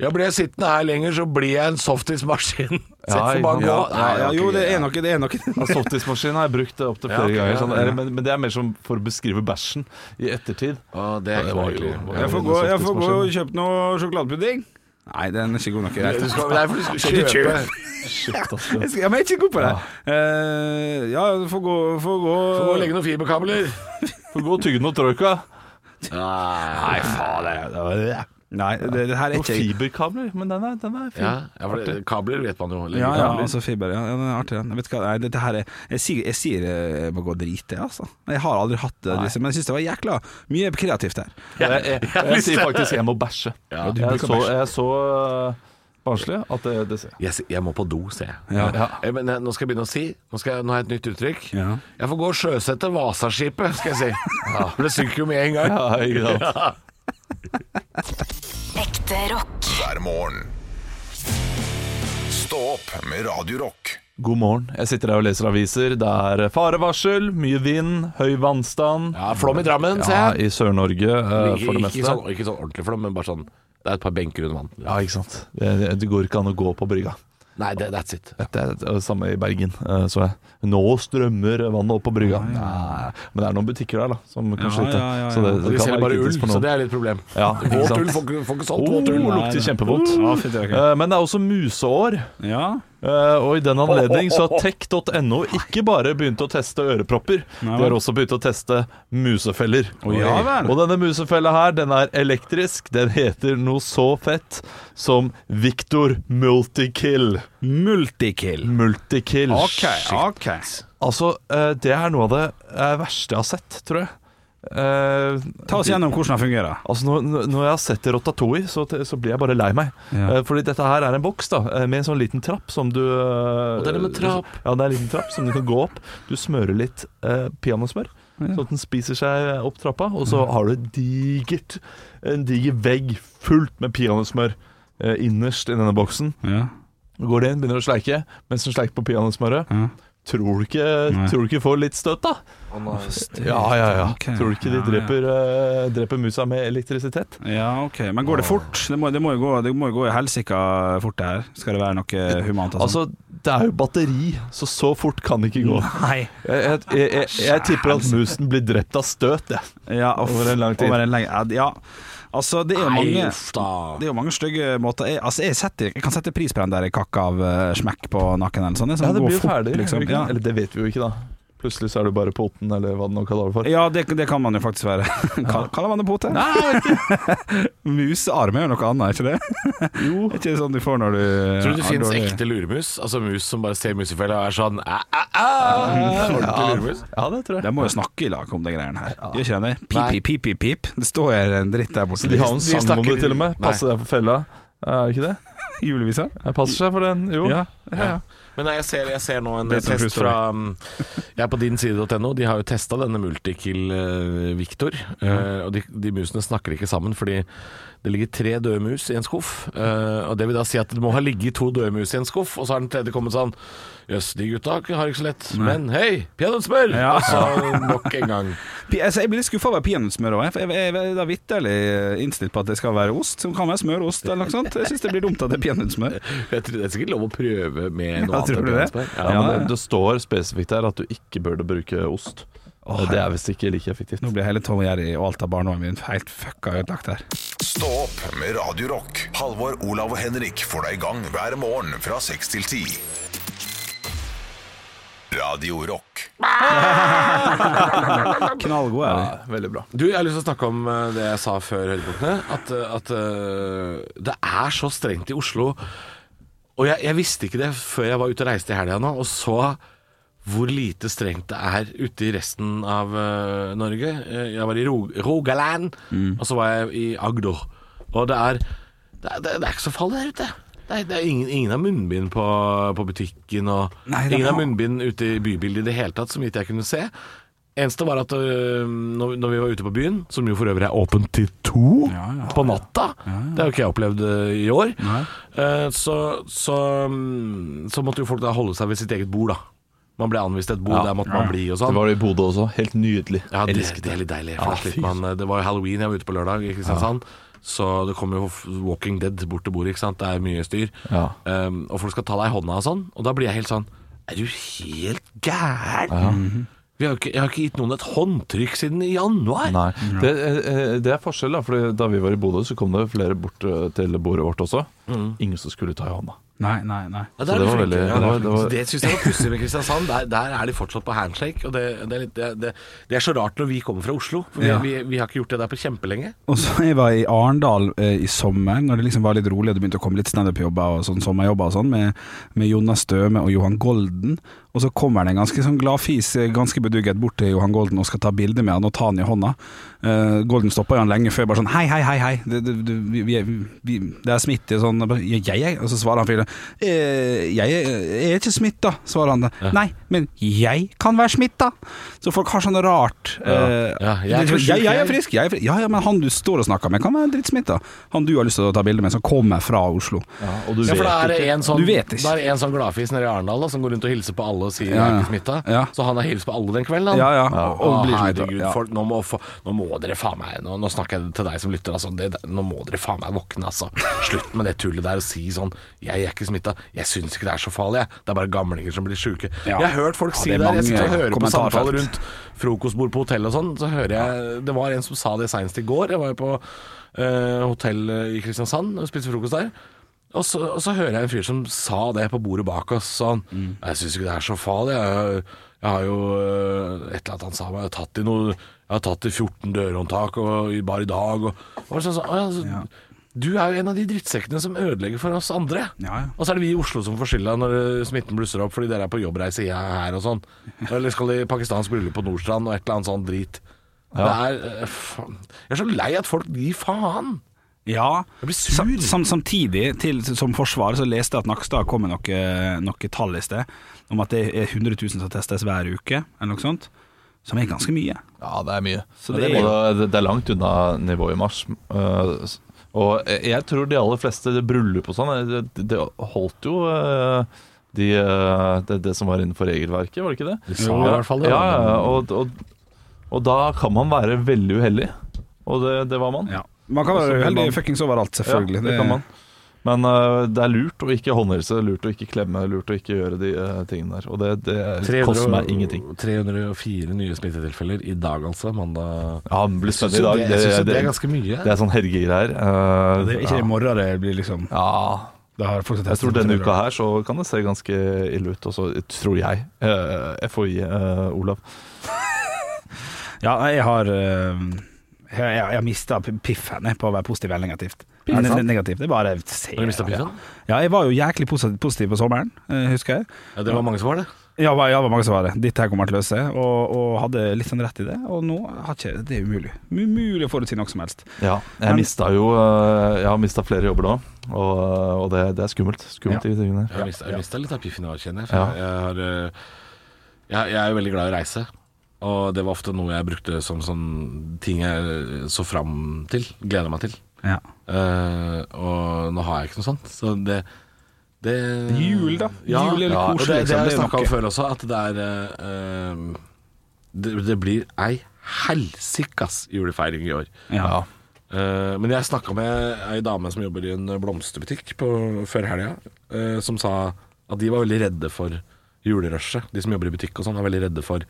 [SPEAKER 5] ja blir jeg sittende her lenger, så blir jeg en softismaskin. Sett
[SPEAKER 3] Ja,
[SPEAKER 5] for
[SPEAKER 3] ikke Altså,
[SPEAKER 5] bare gå.
[SPEAKER 3] sant.
[SPEAKER 5] Nei,
[SPEAKER 4] Ja, ja,
[SPEAKER 5] ok,
[SPEAKER 4] jo, det
[SPEAKER 5] ja.
[SPEAKER 4] er nok det. Er nok.
[SPEAKER 3] Ja, Softismaskin har jeg brukt opptil
[SPEAKER 5] Ja,
[SPEAKER 3] flere
[SPEAKER 5] ok,
[SPEAKER 3] ganger,
[SPEAKER 5] ja,
[SPEAKER 3] sånn,
[SPEAKER 5] ja.
[SPEAKER 3] eller- Men, men det er mer som for å beskrive bæsjen i ettertid.
[SPEAKER 5] Å, det er
[SPEAKER 3] Ja, det var
[SPEAKER 5] ikke noe
[SPEAKER 3] jo-
[SPEAKER 5] hyggelig.
[SPEAKER 3] Ja,
[SPEAKER 4] Jeg får
[SPEAKER 3] men
[SPEAKER 4] gå,
[SPEAKER 3] det er
[SPEAKER 4] jeg får gå og
[SPEAKER 3] softismaskin.
[SPEAKER 4] kjøpe noe sjokoladepudding. Nei, den er ikke god nok. Jeg,
[SPEAKER 5] Du
[SPEAKER 4] vet.
[SPEAKER 5] skal, nei, for du skal
[SPEAKER 4] Ikke
[SPEAKER 5] kjøpe
[SPEAKER 4] kjøpe.
[SPEAKER 3] Shit, altså. ass.
[SPEAKER 4] Jeg skal- ja, men jeg er ikke god på det. Eh, ja, du får gå, får gå.
[SPEAKER 5] Du må legge noen fiberkabler.
[SPEAKER 3] Får gå og tygge noe troika.
[SPEAKER 5] Nei, faen. det er-
[SPEAKER 4] Nei, det, det her er
[SPEAKER 3] Noen
[SPEAKER 4] ikke jeg.
[SPEAKER 3] fiberkabler. Men den er, den er fin.
[SPEAKER 5] Ja, ja, for det- kabler vet man jo. Legge
[SPEAKER 4] Ja, ja,
[SPEAKER 5] kabler.
[SPEAKER 4] altså fiber. Ja, ja, den er artig, den. Jeg Vet hva, nei, dette her er Jeg sier jeg, sier, eh, jeg må gå og drite, jeg, altså. Jeg har aldri hatt det, liksom, men jeg syns det var jækla mye kreativt her.
[SPEAKER 3] Jeg, jeg, jeg, jeg sier faktisk 'jeg må bæsje'.
[SPEAKER 5] Ja, du
[SPEAKER 3] jeg, er
[SPEAKER 4] bruker
[SPEAKER 3] så,
[SPEAKER 4] bæsje.
[SPEAKER 3] jeg er så øh, barnslig at det, det ser jeg.
[SPEAKER 5] Jeg, s- jeg må på do, ser jeg.
[SPEAKER 4] Ja.
[SPEAKER 5] Eh, Men eh, nå skal jeg begynne å si. Nå, skal jeg, nå har jeg et nytt uttrykk.
[SPEAKER 4] Ja.
[SPEAKER 5] Jeg får gå og sjøsette Vasaskipet, skal jeg si. For det synker jo med en gang.
[SPEAKER 3] Ja, ikke sant?
[SPEAKER 2] Ekte rock.
[SPEAKER 1] hver morgen. Stå opp med Radio Rock.
[SPEAKER 3] God morgen. Jeg sitter her og leser aviser. Det er farevarsel, mye vind, høy vannstand.
[SPEAKER 5] Ja, flom i Drammen, ser
[SPEAKER 3] Ja,
[SPEAKER 5] jeg.
[SPEAKER 3] i Sør-Norge eh,
[SPEAKER 5] Ikke,
[SPEAKER 3] for det
[SPEAKER 5] ikke,
[SPEAKER 3] meste.
[SPEAKER 5] sånn, ikke sånn ordentlig flom, men bare sånn Det er et par benker under vann.
[SPEAKER 3] Ja, ikke sant. Det, det, det går ikke an å gå på brygga.
[SPEAKER 5] Nei, det, that's it.
[SPEAKER 3] Det er det samme i Bergen, eh, så jeg. Nå strømmer vannet opp på brygga. Nei, Men det er noen butikker der da, som kan
[SPEAKER 4] Ja,
[SPEAKER 3] slite.
[SPEAKER 4] ja, ja,
[SPEAKER 3] Så det,
[SPEAKER 4] ja.
[SPEAKER 5] Og
[SPEAKER 3] det
[SPEAKER 5] de
[SPEAKER 3] kan
[SPEAKER 5] selger
[SPEAKER 3] være
[SPEAKER 5] bare ull,
[SPEAKER 3] kritisk for
[SPEAKER 5] så
[SPEAKER 3] noen.
[SPEAKER 5] det er litt problem.
[SPEAKER 3] Ja, ikke
[SPEAKER 5] Våt
[SPEAKER 3] sant?
[SPEAKER 5] ull, får ikke- får ikke solgt
[SPEAKER 3] Oh,
[SPEAKER 5] våt ull.
[SPEAKER 3] lukter kjempevondt.
[SPEAKER 4] Ja, fy søren.
[SPEAKER 3] Eh, Men det er også museår.
[SPEAKER 4] Ja.
[SPEAKER 3] Eh, og i den anledning så har tech.no ikke bare begynt å teste ørepropper,
[SPEAKER 4] Nei
[SPEAKER 3] de har
[SPEAKER 4] vel.
[SPEAKER 3] også begynt å teste musefeller.
[SPEAKER 4] Å, ja vel.
[SPEAKER 3] Og denne musefella her, den er elektrisk. Den heter noe så fett som Victor Multikill.
[SPEAKER 4] Multikill.
[SPEAKER 3] Multikill.
[SPEAKER 4] OK, OK.
[SPEAKER 3] Altså, eh, det er noe av det eh, verste jeg har sett, tror jeg. Eh,
[SPEAKER 4] Ta oss gjennom hvordan den fungerer.
[SPEAKER 3] Altså når, når- når jeg har sett Rotatoi, så, så blir jeg bare lei meg.
[SPEAKER 4] Ja.
[SPEAKER 3] Eh, Fordi dette her er en boks da eh, med en sånn liten trapp som du Og
[SPEAKER 5] det er med trapp.
[SPEAKER 3] Ja, det er en liten trapp som du kan gå opp. Du smører litt eh, peanøttsmør, sånn at den spiser seg opp trappa. Og så har du et digert en diger vegg fullt med peanøttsmør eh, innerst i denne boksen.
[SPEAKER 4] Ja.
[SPEAKER 3] Går det inn, begynner å sleike mens den sleiker på peanøttsmøret.
[SPEAKER 4] Ja.
[SPEAKER 3] Tror du ikke,
[SPEAKER 4] Nei.
[SPEAKER 3] tror du ikke får litt støt, da? Ja, ja, ja.
[SPEAKER 4] Ok.
[SPEAKER 3] Tror du ikke de
[SPEAKER 4] Ja, ja.
[SPEAKER 3] dreper, eh, dreper musa med elektrisitet?
[SPEAKER 4] Ja, ok. Men går det fort? Det må, det må jo gå, det må jo gå i helsika fort, det her. Skal det være noe eh, humant? og sånt?
[SPEAKER 3] Altså, det er jo batteri, så så fort kan det ikke gå.
[SPEAKER 4] Nei.
[SPEAKER 3] Jeg, jeg, jeg, jeg, jeg tipper at musen blir drept av støt, jeg.
[SPEAKER 4] sånn? Ja, uff,
[SPEAKER 3] Over en lang tid.
[SPEAKER 4] Over en lenge, ja, ja. Altså, det er jo
[SPEAKER 5] Nei,
[SPEAKER 4] mange
[SPEAKER 5] uff da.
[SPEAKER 4] det er jo mange stygge måter jeg, altså, jeg, setter, jeg kan sette pris på den der kakk av eh, smekk på nakken eller sånn.
[SPEAKER 3] Ja, det
[SPEAKER 4] går
[SPEAKER 3] blir jo
[SPEAKER 4] fort,
[SPEAKER 3] ferdig.
[SPEAKER 4] liksom.
[SPEAKER 3] gjør det ikke det?
[SPEAKER 4] Ja,
[SPEAKER 3] Eller det vet vi jo ikke, da. Plutselig så er du bare på otten, eller hva det nå kaller det for.
[SPEAKER 4] ja det, det kan man jo faktisk være. Kall- Kaller man det pote? Musearm er jo noe annet, er ikke det? Jo. er ikke det sånn du får når du
[SPEAKER 5] Tror du det
[SPEAKER 4] har
[SPEAKER 5] finnes
[SPEAKER 4] dårlig-
[SPEAKER 5] ekte luremus? Altså mus som bare ser musefella og er sånn æ, æ, æ. Ordentlig luremus.
[SPEAKER 3] Ja, det tror jeg.
[SPEAKER 4] De må jo snakke i lag om de greiene her. Gjør ikke de det? Pip, pip, pip, pip, pip. Det står her en dritt der borte.
[SPEAKER 3] De har en
[SPEAKER 5] de
[SPEAKER 3] sang om det,
[SPEAKER 5] snakker-
[SPEAKER 3] til og med.
[SPEAKER 5] Nei.
[SPEAKER 3] Passe deg for fella. Er det ikke det?
[SPEAKER 4] julevisa.
[SPEAKER 3] Jeg passer seg for den, jo.
[SPEAKER 4] Ja.
[SPEAKER 5] Men nei, jeg ser, jeg ser nå en
[SPEAKER 4] Det er
[SPEAKER 5] test
[SPEAKER 4] true
[SPEAKER 5] fra um, Jeg er på din side.no. De har jo testa denne Multikill eh, Victor. eh, og de, de musene snakker ikke sammen fordi det ligger tre døde mus i en skuff. eh, og Det vil da si at det må ha ligget to døde mus i en skuff, og så har den tredje kommet sånn Jøss, de gutta har ikke så lett. Men hei, peanøttsmør!
[SPEAKER 4] Ja.
[SPEAKER 5] Og så nok en gang.
[SPEAKER 4] Pi- Altså, jeg blir litt skuffa over peanøttsmør òg, for jeg, jeg, jeg er da vitterlig eh, innstilt på at det skal være ost. Som kan være smørost eller noe sånt. Jeg syns det blir dumt at det er peanøttsmør.
[SPEAKER 5] Jeg tror Det er sikkert lov å prøve med noe
[SPEAKER 4] Ja,
[SPEAKER 5] annet.
[SPEAKER 4] tror
[SPEAKER 5] enn
[SPEAKER 4] du det?
[SPEAKER 5] peanøttsmør.
[SPEAKER 3] Ja,
[SPEAKER 5] Ja.
[SPEAKER 3] men det, det står spesifikt der at du ikke burde bruke ost. det er visst ikke like effektivt.
[SPEAKER 4] Nå blir hele Tom og Jerry og alt av barndommen min helt fucka ødelagt her.
[SPEAKER 1] Stå opp med Radio Rock. Halvor, Olav og Henrik får deg i gang hver morgen fra 6 til 10. Radio Rock.
[SPEAKER 4] Knallgod er vi.
[SPEAKER 3] Veldig bra.
[SPEAKER 5] Du, jeg har lyst til å snakke om eh, det jeg sa før høydepunktene. At, eh, at eh, det er så strengt i Oslo. Og jeg, jeg visste ikke det før jeg var ute og reiste i helga nå, og så hvor lite strengt det er ute i resten av eh, Norge. Eh, jeg var i Rog Rogaland,
[SPEAKER 4] Mm.
[SPEAKER 5] og så var jeg i Agder. Og det er, det er, det er ikke så farlig der ute. Det er, det er ingen, ingen har munnbind på, på butikken, og
[SPEAKER 4] Nei, det er
[SPEAKER 5] ingen har
[SPEAKER 4] bra.
[SPEAKER 5] munnbind ute i bybildet i det hele tatt, så vidt jeg kunne se. Eneste var at øh, når, når vi var ute på byen, som jo for øvrig er åpent til to på natta Det har jo ikke jeg opplevd øh, i år. Eh, så, så, mm, så måtte jo folk da holde seg ved sitt eget bord, da. Man ble anvist et bord,
[SPEAKER 3] Ja.
[SPEAKER 5] der måtte man bli og sånn.
[SPEAKER 3] Det var det i Bodø også. Helt nydelig.
[SPEAKER 5] Ja, det,
[SPEAKER 3] Elsket
[SPEAKER 5] det er litt deilig. For
[SPEAKER 3] Ja,
[SPEAKER 5] da slipper
[SPEAKER 3] fy
[SPEAKER 5] man, eh, det var jo halloween jeg var ute på lørdag i Kristiansand. Så det kommer jo f- Walking Dead bort til bordet, ikke sant. Det er mye styr.
[SPEAKER 3] Ja.
[SPEAKER 5] Um, og folk skal ta deg i hånda og sånn. Og da blir jeg helt sånn Er du helt gæren? Vi har jo ikke, jeg har ikke gitt noen et håndtrykk siden i januar.
[SPEAKER 3] Nei, det, eh, det er forskjell da Fordi da vi var i Bodø så kom det flere bort eh, til bordet vårt også
[SPEAKER 5] Mm.
[SPEAKER 3] Ingen som skulle ta i hånda
[SPEAKER 4] Nei, nei, nei.
[SPEAKER 5] Ja,
[SPEAKER 3] Så
[SPEAKER 5] der er
[SPEAKER 3] det
[SPEAKER 5] de
[SPEAKER 3] var
[SPEAKER 5] flinke.
[SPEAKER 3] veldig-
[SPEAKER 5] Ja,
[SPEAKER 3] det var-
[SPEAKER 5] det,
[SPEAKER 3] det var-
[SPEAKER 5] det syns jeg var pussig med Kristiansand. Der, der er de fortsatt på handshake. Og det, det, er litt, det, det, det er så rart når vi kommer fra Oslo. For vi,
[SPEAKER 4] Ja.
[SPEAKER 5] vi, vi har ikke gjort det der på kjempelenge.
[SPEAKER 4] Og så jeg var i Arendal eh, i sommer, når det liksom var litt rolig og det begynte å komme litt standup-jobber og sånn sommerjobber og sånn, med, med Jonas Støme og Johan Golden. Og så kommer det en ganske sånn glad fis, eh, ganske bedugget bort til Johan Golden og skal ta bilde med han og ta han i hånda. Eh, Golden stopper jo han lenge før, bare sånn hei, hei, hei, hei, det, det, det, vi, vi, vi, det er smitte, sånn, og bare, «Ja, jeg, jeg, og så svarer han fyren, eh, jeg, er- jeg er ikke smitta, svarer han da. Nei, men jeg kan være smitta! Så folk har sånn rart eh,
[SPEAKER 5] Ja, jeg er
[SPEAKER 4] det er
[SPEAKER 5] ikke
[SPEAKER 4] sånn, jeg,
[SPEAKER 5] sjuk,
[SPEAKER 4] jeg er
[SPEAKER 5] jeg».
[SPEAKER 4] frisk, jeg er frisk. Ja, ja, men han du står og snakker med, kan være drittsmitta. Han du har lyst til å ta bilde med, som kommer fra Oslo.
[SPEAKER 3] Og du
[SPEAKER 5] Ja, for
[SPEAKER 3] vet
[SPEAKER 5] det
[SPEAKER 3] ikke.
[SPEAKER 5] er en sånn,
[SPEAKER 4] Du vet ikke.
[SPEAKER 5] det er en sånn gladfis nede i Arendal da, som går rundt og hilser på alle og sier
[SPEAKER 4] Ja,
[SPEAKER 5] jeg er
[SPEAKER 4] ja.
[SPEAKER 5] ikke smitta.
[SPEAKER 4] Ja.
[SPEAKER 5] Så han har hilst på alle den kvelden. han.
[SPEAKER 4] Ja, ja, og- og
[SPEAKER 5] Å,
[SPEAKER 4] blir smittet,
[SPEAKER 5] herregud,
[SPEAKER 4] ja.
[SPEAKER 5] folk, nå må, få- nå må dere faen meg nå, nå snakker jeg til deg som lytter, altså. Det, det- nå må dere faen meg våkne, altså. Slutt med det tullet der og si sånn Jeg er ikke smitta. Jeg syns ikke det er så farlig, jeg. Det er bare gamlinger som blir sjuke.
[SPEAKER 4] Ja.
[SPEAKER 5] Jeg har hørt folk
[SPEAKER 4] Ja,
[SPEAKER 5] si
[SPEAKER 4] det
[SPEAKER 5] det.
[SPEAKER 4] er
[SPEAKER 5] Jeg sitter og
[SPEAKER 4] mange
[SPEAKER 5] hører på
[SPEAKER 4] kommentarfelt.
[SPEAKER 5] samtaler rundt frokostbord på hotell og sånn, så hører jeg Det var en som sa det seinest i går. Jeg var jo på eh, hotell i Kristiansand og spiste frokost der. Og så, og så hører jeg en fyr som sa det på bordet bak oss. Sånn,
[SPEAKER 4] Mm.
[SPEAKER 5] Jeg syns ikke det er så farlig. Jeg, jeg har jo eh, et eller annet han sa meg, jeg har tatt i noe Jeg har tatt i 14 dørhåndtak og, i- bare i dag. Og, og sånn, sånn, «Å ja, så, Du er jo en av de drittsekkene som ødelegger for oss andre.
[SPEAKER 4] Ja, ja.
[SPEAKER 5] Og så er det vi i Oslo som får skylda når eh, smitten blusser opp fordi dere er på jobbreise jeg er her og sånn. Eller skal i pakistansk bryllup på Nordstrand og et eller annet sånn drit. Det er eh, faen. Jeg er så lei at folk gir faen.
[SPEAKER 4] Ja,
[SPEAKER 5] Jeg blir sur.
[SPEAKER 4] Sam, sam, samtidig til, som forsvar så leste jeg at Nakstad kom med noen noe tall i sted om at det er 100 000 som testes hver uke, eller noe sånt. Som er ganske mye.
[SPEAKER 3] Ja, det er mye.
[SPEAKER 4] Så
[SPEAKER 3] Men
[SPEAKER 4] det
[SPEAKER 3] det,
[SPEAKER 4] er-
[SPEAKER 3] er, det, det er langt unna nivået i mars. Eh, s- og jeg tror de aller fleste bryllup og sånn, eh, det, det holdt jo eh, de, eh, det, det som var innenfor regelverket, var det ikke det?
[SPEAKER 5] sa i hvert fall det,
[SPEAKER 3] Ja,
[SPEAKER 5] da.
[SPEAKER 3] ja, og, og, og da kan man være veldig uheldig, og det, det var man.
[SPEAKER 4] Ja. Man kan
[SPEAKER 3] Også
[SPEAKER 4] være
[SPEAKER 3] kan
[SPEAKER 4] uheldig
[SPEAKER 3] man-
[SPEAKER 4] fuckings overalt,
[SPEAKER 3] Ja,
[SPEAKER 4] selvfølgelig.
[SPEAKER 3] det kan man. Men eh, det er lurt å ikke håndhilse, lurt å ikke klemme, lurt å ikke gjøre de eh, tingene der. Og det, det koster meg ingenting.
[SPEAKER 5] 304 nye smittetilfeller i dag, altså. Mandag.
[SPEAKER 3] Ja, det blir
[SPEAKER 5] Synes
[SPEAKER 3] spennende i dag.
[SPEAKER 5] jo det- jeg synes jo det er ganske mye.
[SPEAKER 3] Det er sånn helgegreier. Uh,
[SPEAKER 4] Det er ikke i morgen det blir liksom
[SPEAKER 3] Ja,
[SPEAKER 4] det har folk som
[SPEAKER 3] jeg tror
[SPEAKER 4] tester
[SPEAKER 3] denne
[SPEAKER 4] det.
[SPEAKER 3] uka her så kan det se ganske ille ut, og så tror jeg. eh, FHI, eh, Olav.
[SPEAKER 4] Ja, nei, jeg har øh, Jeg, jeg, jeg mista piffen jeg, på å være positiv eller negativt.
[SPEAKER 5] Piffen?
[SPEAKER 4] Nei, ne- negativt. Det er bare se,
[SPEAKER 5] Har du mistet piffen?
[SPEAKER 4] Ja. ja, jeg var jo jæklig posi- positiv på sommeren, eh, husker jeg.
[SPEAKER 5] Ja, det var mange som var det.
[SPEAKER 4] Ja, var, ja, var mange som var det. Dette her kommer jeg til å løse, og, og hadde litt sånn rett i det. Og nå har ikke Det er umulig. Umulig å forutsi noe som helst.
[SPEAKER 3] Ja, jeg
[SPEAKER 4] Men-
[SPEAKER 3] mista jo eh, Jeg har mista flere jobber nå, og, eh, og det, det er skummelt. Skummelt,
[SPEAKER 4] Ja.
[SPEAKER 3] de tingene der.
[SPEAKER 5] Jeg mista, jeg mistet litt av piffen i år, kjenner jeg. For
[SPEAKER 3] Ja.
[SPEAKER 5] jeg, jeg, har, eh, jeg. Jeg er jo veldig glad i å reise. Og det var ofte noe jeg brukte som sånn ting jeg så fram til. Gleder meg til.
[SPEAKER 4] Ja.
[SPEAKER 5] Eh, og nå har jeg ikke noe sånt. Så det, det
[SPEAKER 4] Jul, da.
[SPEAKER 5] Ja,
[SPEAKER 4] Jul eller
[SPEAKER 5] ja,
[SPEAKER 4] koselig, liksom.
[SPEAKER 5] og Det, det har vi
[SPEAKER 4] Det er
[SPEAKER 5] snakka om
[SPEAKER 4] noe.
[SPEAKER 5] før også, at det er eh, eh, det, det blir ei helsikas julefeiring i år.
[SPEAKER 4] Ja.
[SPEAKER 5] Eh, men jeg snakka med ei dame som jobber i en blomsterbutikk på, før helga, eh, som sa at de var veldig redde for julerushet. De som jobber i butikk og sånn, er veldig redde for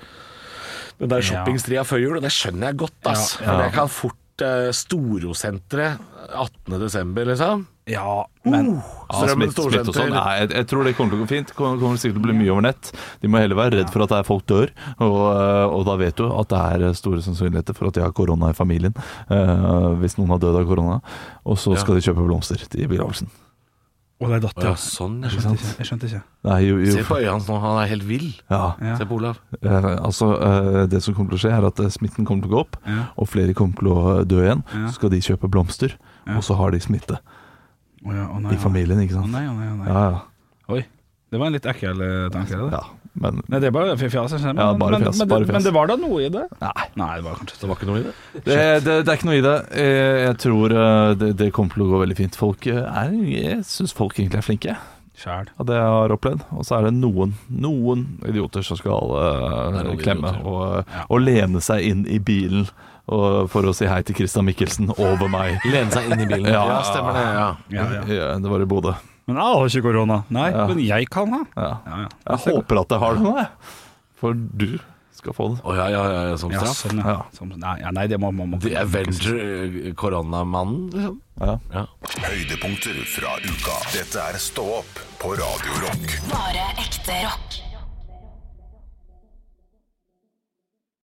[SPEAKER 5] den der shoppingstria før jul, og det skjønner jeg godt, ass.
[SPEAKER 4] Ja,
[SPEAKER 5] For det kan fort eh, Storosenteret 18.12., liksom. Uh,
[SPEAKER 4] ja men
[SPEAKER 3] Ja, smitt, smitt og sånn. Nei, jeg, jeg tror det kommer til å gå fint. Det kommer, kommer sikkert til å bli mye over nett. De må heller være redd for at det er folk dør, og, eh, og da vet du at det er eh, store sannsynligheter for at de har korona i familien. eh, hvis noen har dødd av korona. Og så skal de kjøpe blomster til begravelsen.
[SPEAKER 4] Og det er datter.
[SPEAKER 5] Ja, sånn, ja.
[SPEAKER 4] Jeg skjønte ikke. Jeg skjønte ikke.
[SPEAKER 3] Nei, jo, jo.
[SPEAKER 5] Se på øya hans nå, han er helt vill.
[SPEAKER 3] sånn. Ja.
[SPEAKER 4] Ja.
[SPEAKER 5] Se på Olav.
[SPEAKER 3] Eh, altså, eh, det som kommer til å skje, er at eh, smitten kommer til å gå opp,
[SPEAKER 4] Ja.
[SPEAKER 3] og flere kommer til å eh, dø igjen.
[SPEAKER 4] Ja.
[SPEAKER 3] Så skal de kjøpe blomster,
[SPEAKER 4] Ja.
[SPEAKER 3] og så har de smitte
[SPEAKER 4] Å ja, å nei,
[SPEAKER 3] i familien, ikke
[SPEAKER 4] Å
[SPEAKER 3] sant?
[SPEAKER 4] nei, å nei, å nei.
[SPEAKER 3] Ja, ja.
[SPEAKER 4] Oi. Det var en litt ekkel eh, tanke. det
[SPEAKER 3] ja.
[SPEAKER 4] der.
[SPEAKER 3] Men
[SPEAKER 4] Nei, det er bare fjas. jeg skjønner.
[SPEAKER 3] Ja, bare
[SPEAKER 4] men,
[SPEAKER 3] fjas,
[SPEAKER 4] men,
[SPEAKER 3] bare
[SPEAKER 4] det- men
[SPEAKER 3] fjas.
[SPEAKER 4] det var da noe i det?
[SPEAKER 3] nei.
[SPEAKER 4] Nei, det var kanskje
[SPEAKER 5] Det var ikke noe i det.
[SPEAKER 3] Det, det, det er ikke noe i det. Eh, Jeg tror eh, det, det kommer til å gå veldig fint. Folk eh, er, jeg syns folk egentlig er flinke,
[SPEAKER 4] sjæl.
[SPEAKER 3] av det jeg har opplevd. Og så er det noen, noen idioter som skal eh,
[SPEAKER 5] Det er noen
[SPEAKER 3] klemme
[SPEAKER 5] idioter.
[SPEAKER 3] og, og lene seg inn i bilen og, for å si hei til Christian Mikkelsen over meg.
[SPEAKER 5] Lene seg inn i bilen.
[SPEAKER 3] Ja.
[SPEAKER 5] stemmer det. Ja.
[SPEAKER 4] Ja, ja.
[SPEAKER 3] Ja, det var i Bodø.
[SPEAKER 4] Men jeg har ikke korona. Nei,
[SPEAKER 3] Ja.
[SPEAKER 4] men jeg kan ha.
[SPEAKER 3] Ja.
[SPEAKER 4] Ja, ja.
[SPEAKER 3] Jeg håper at jeg har det nå, jeg. For du skal få det.
[SPEAKER 5] Å, ja, ja, ja, ja, som
[SPEAKER 4] Ja,
[SPEAKER 5] straff.
[SPEAKER 4] sånn, ja.
[SPEAKER 3] Ja.
[SPEAKER 4] Som, nei, ja, nei, det må man
[SPEAKER 5] The Avenger, eh, koronamannen, liksom.
[SPEAKER 3] Ja.
[SPEAKER 5] Ja.
[SPEAKER 1] Høydepunkter fra uka. Dette er Stå opp på Radio Rock.
[SPEAKER 2] Bare ekte rock.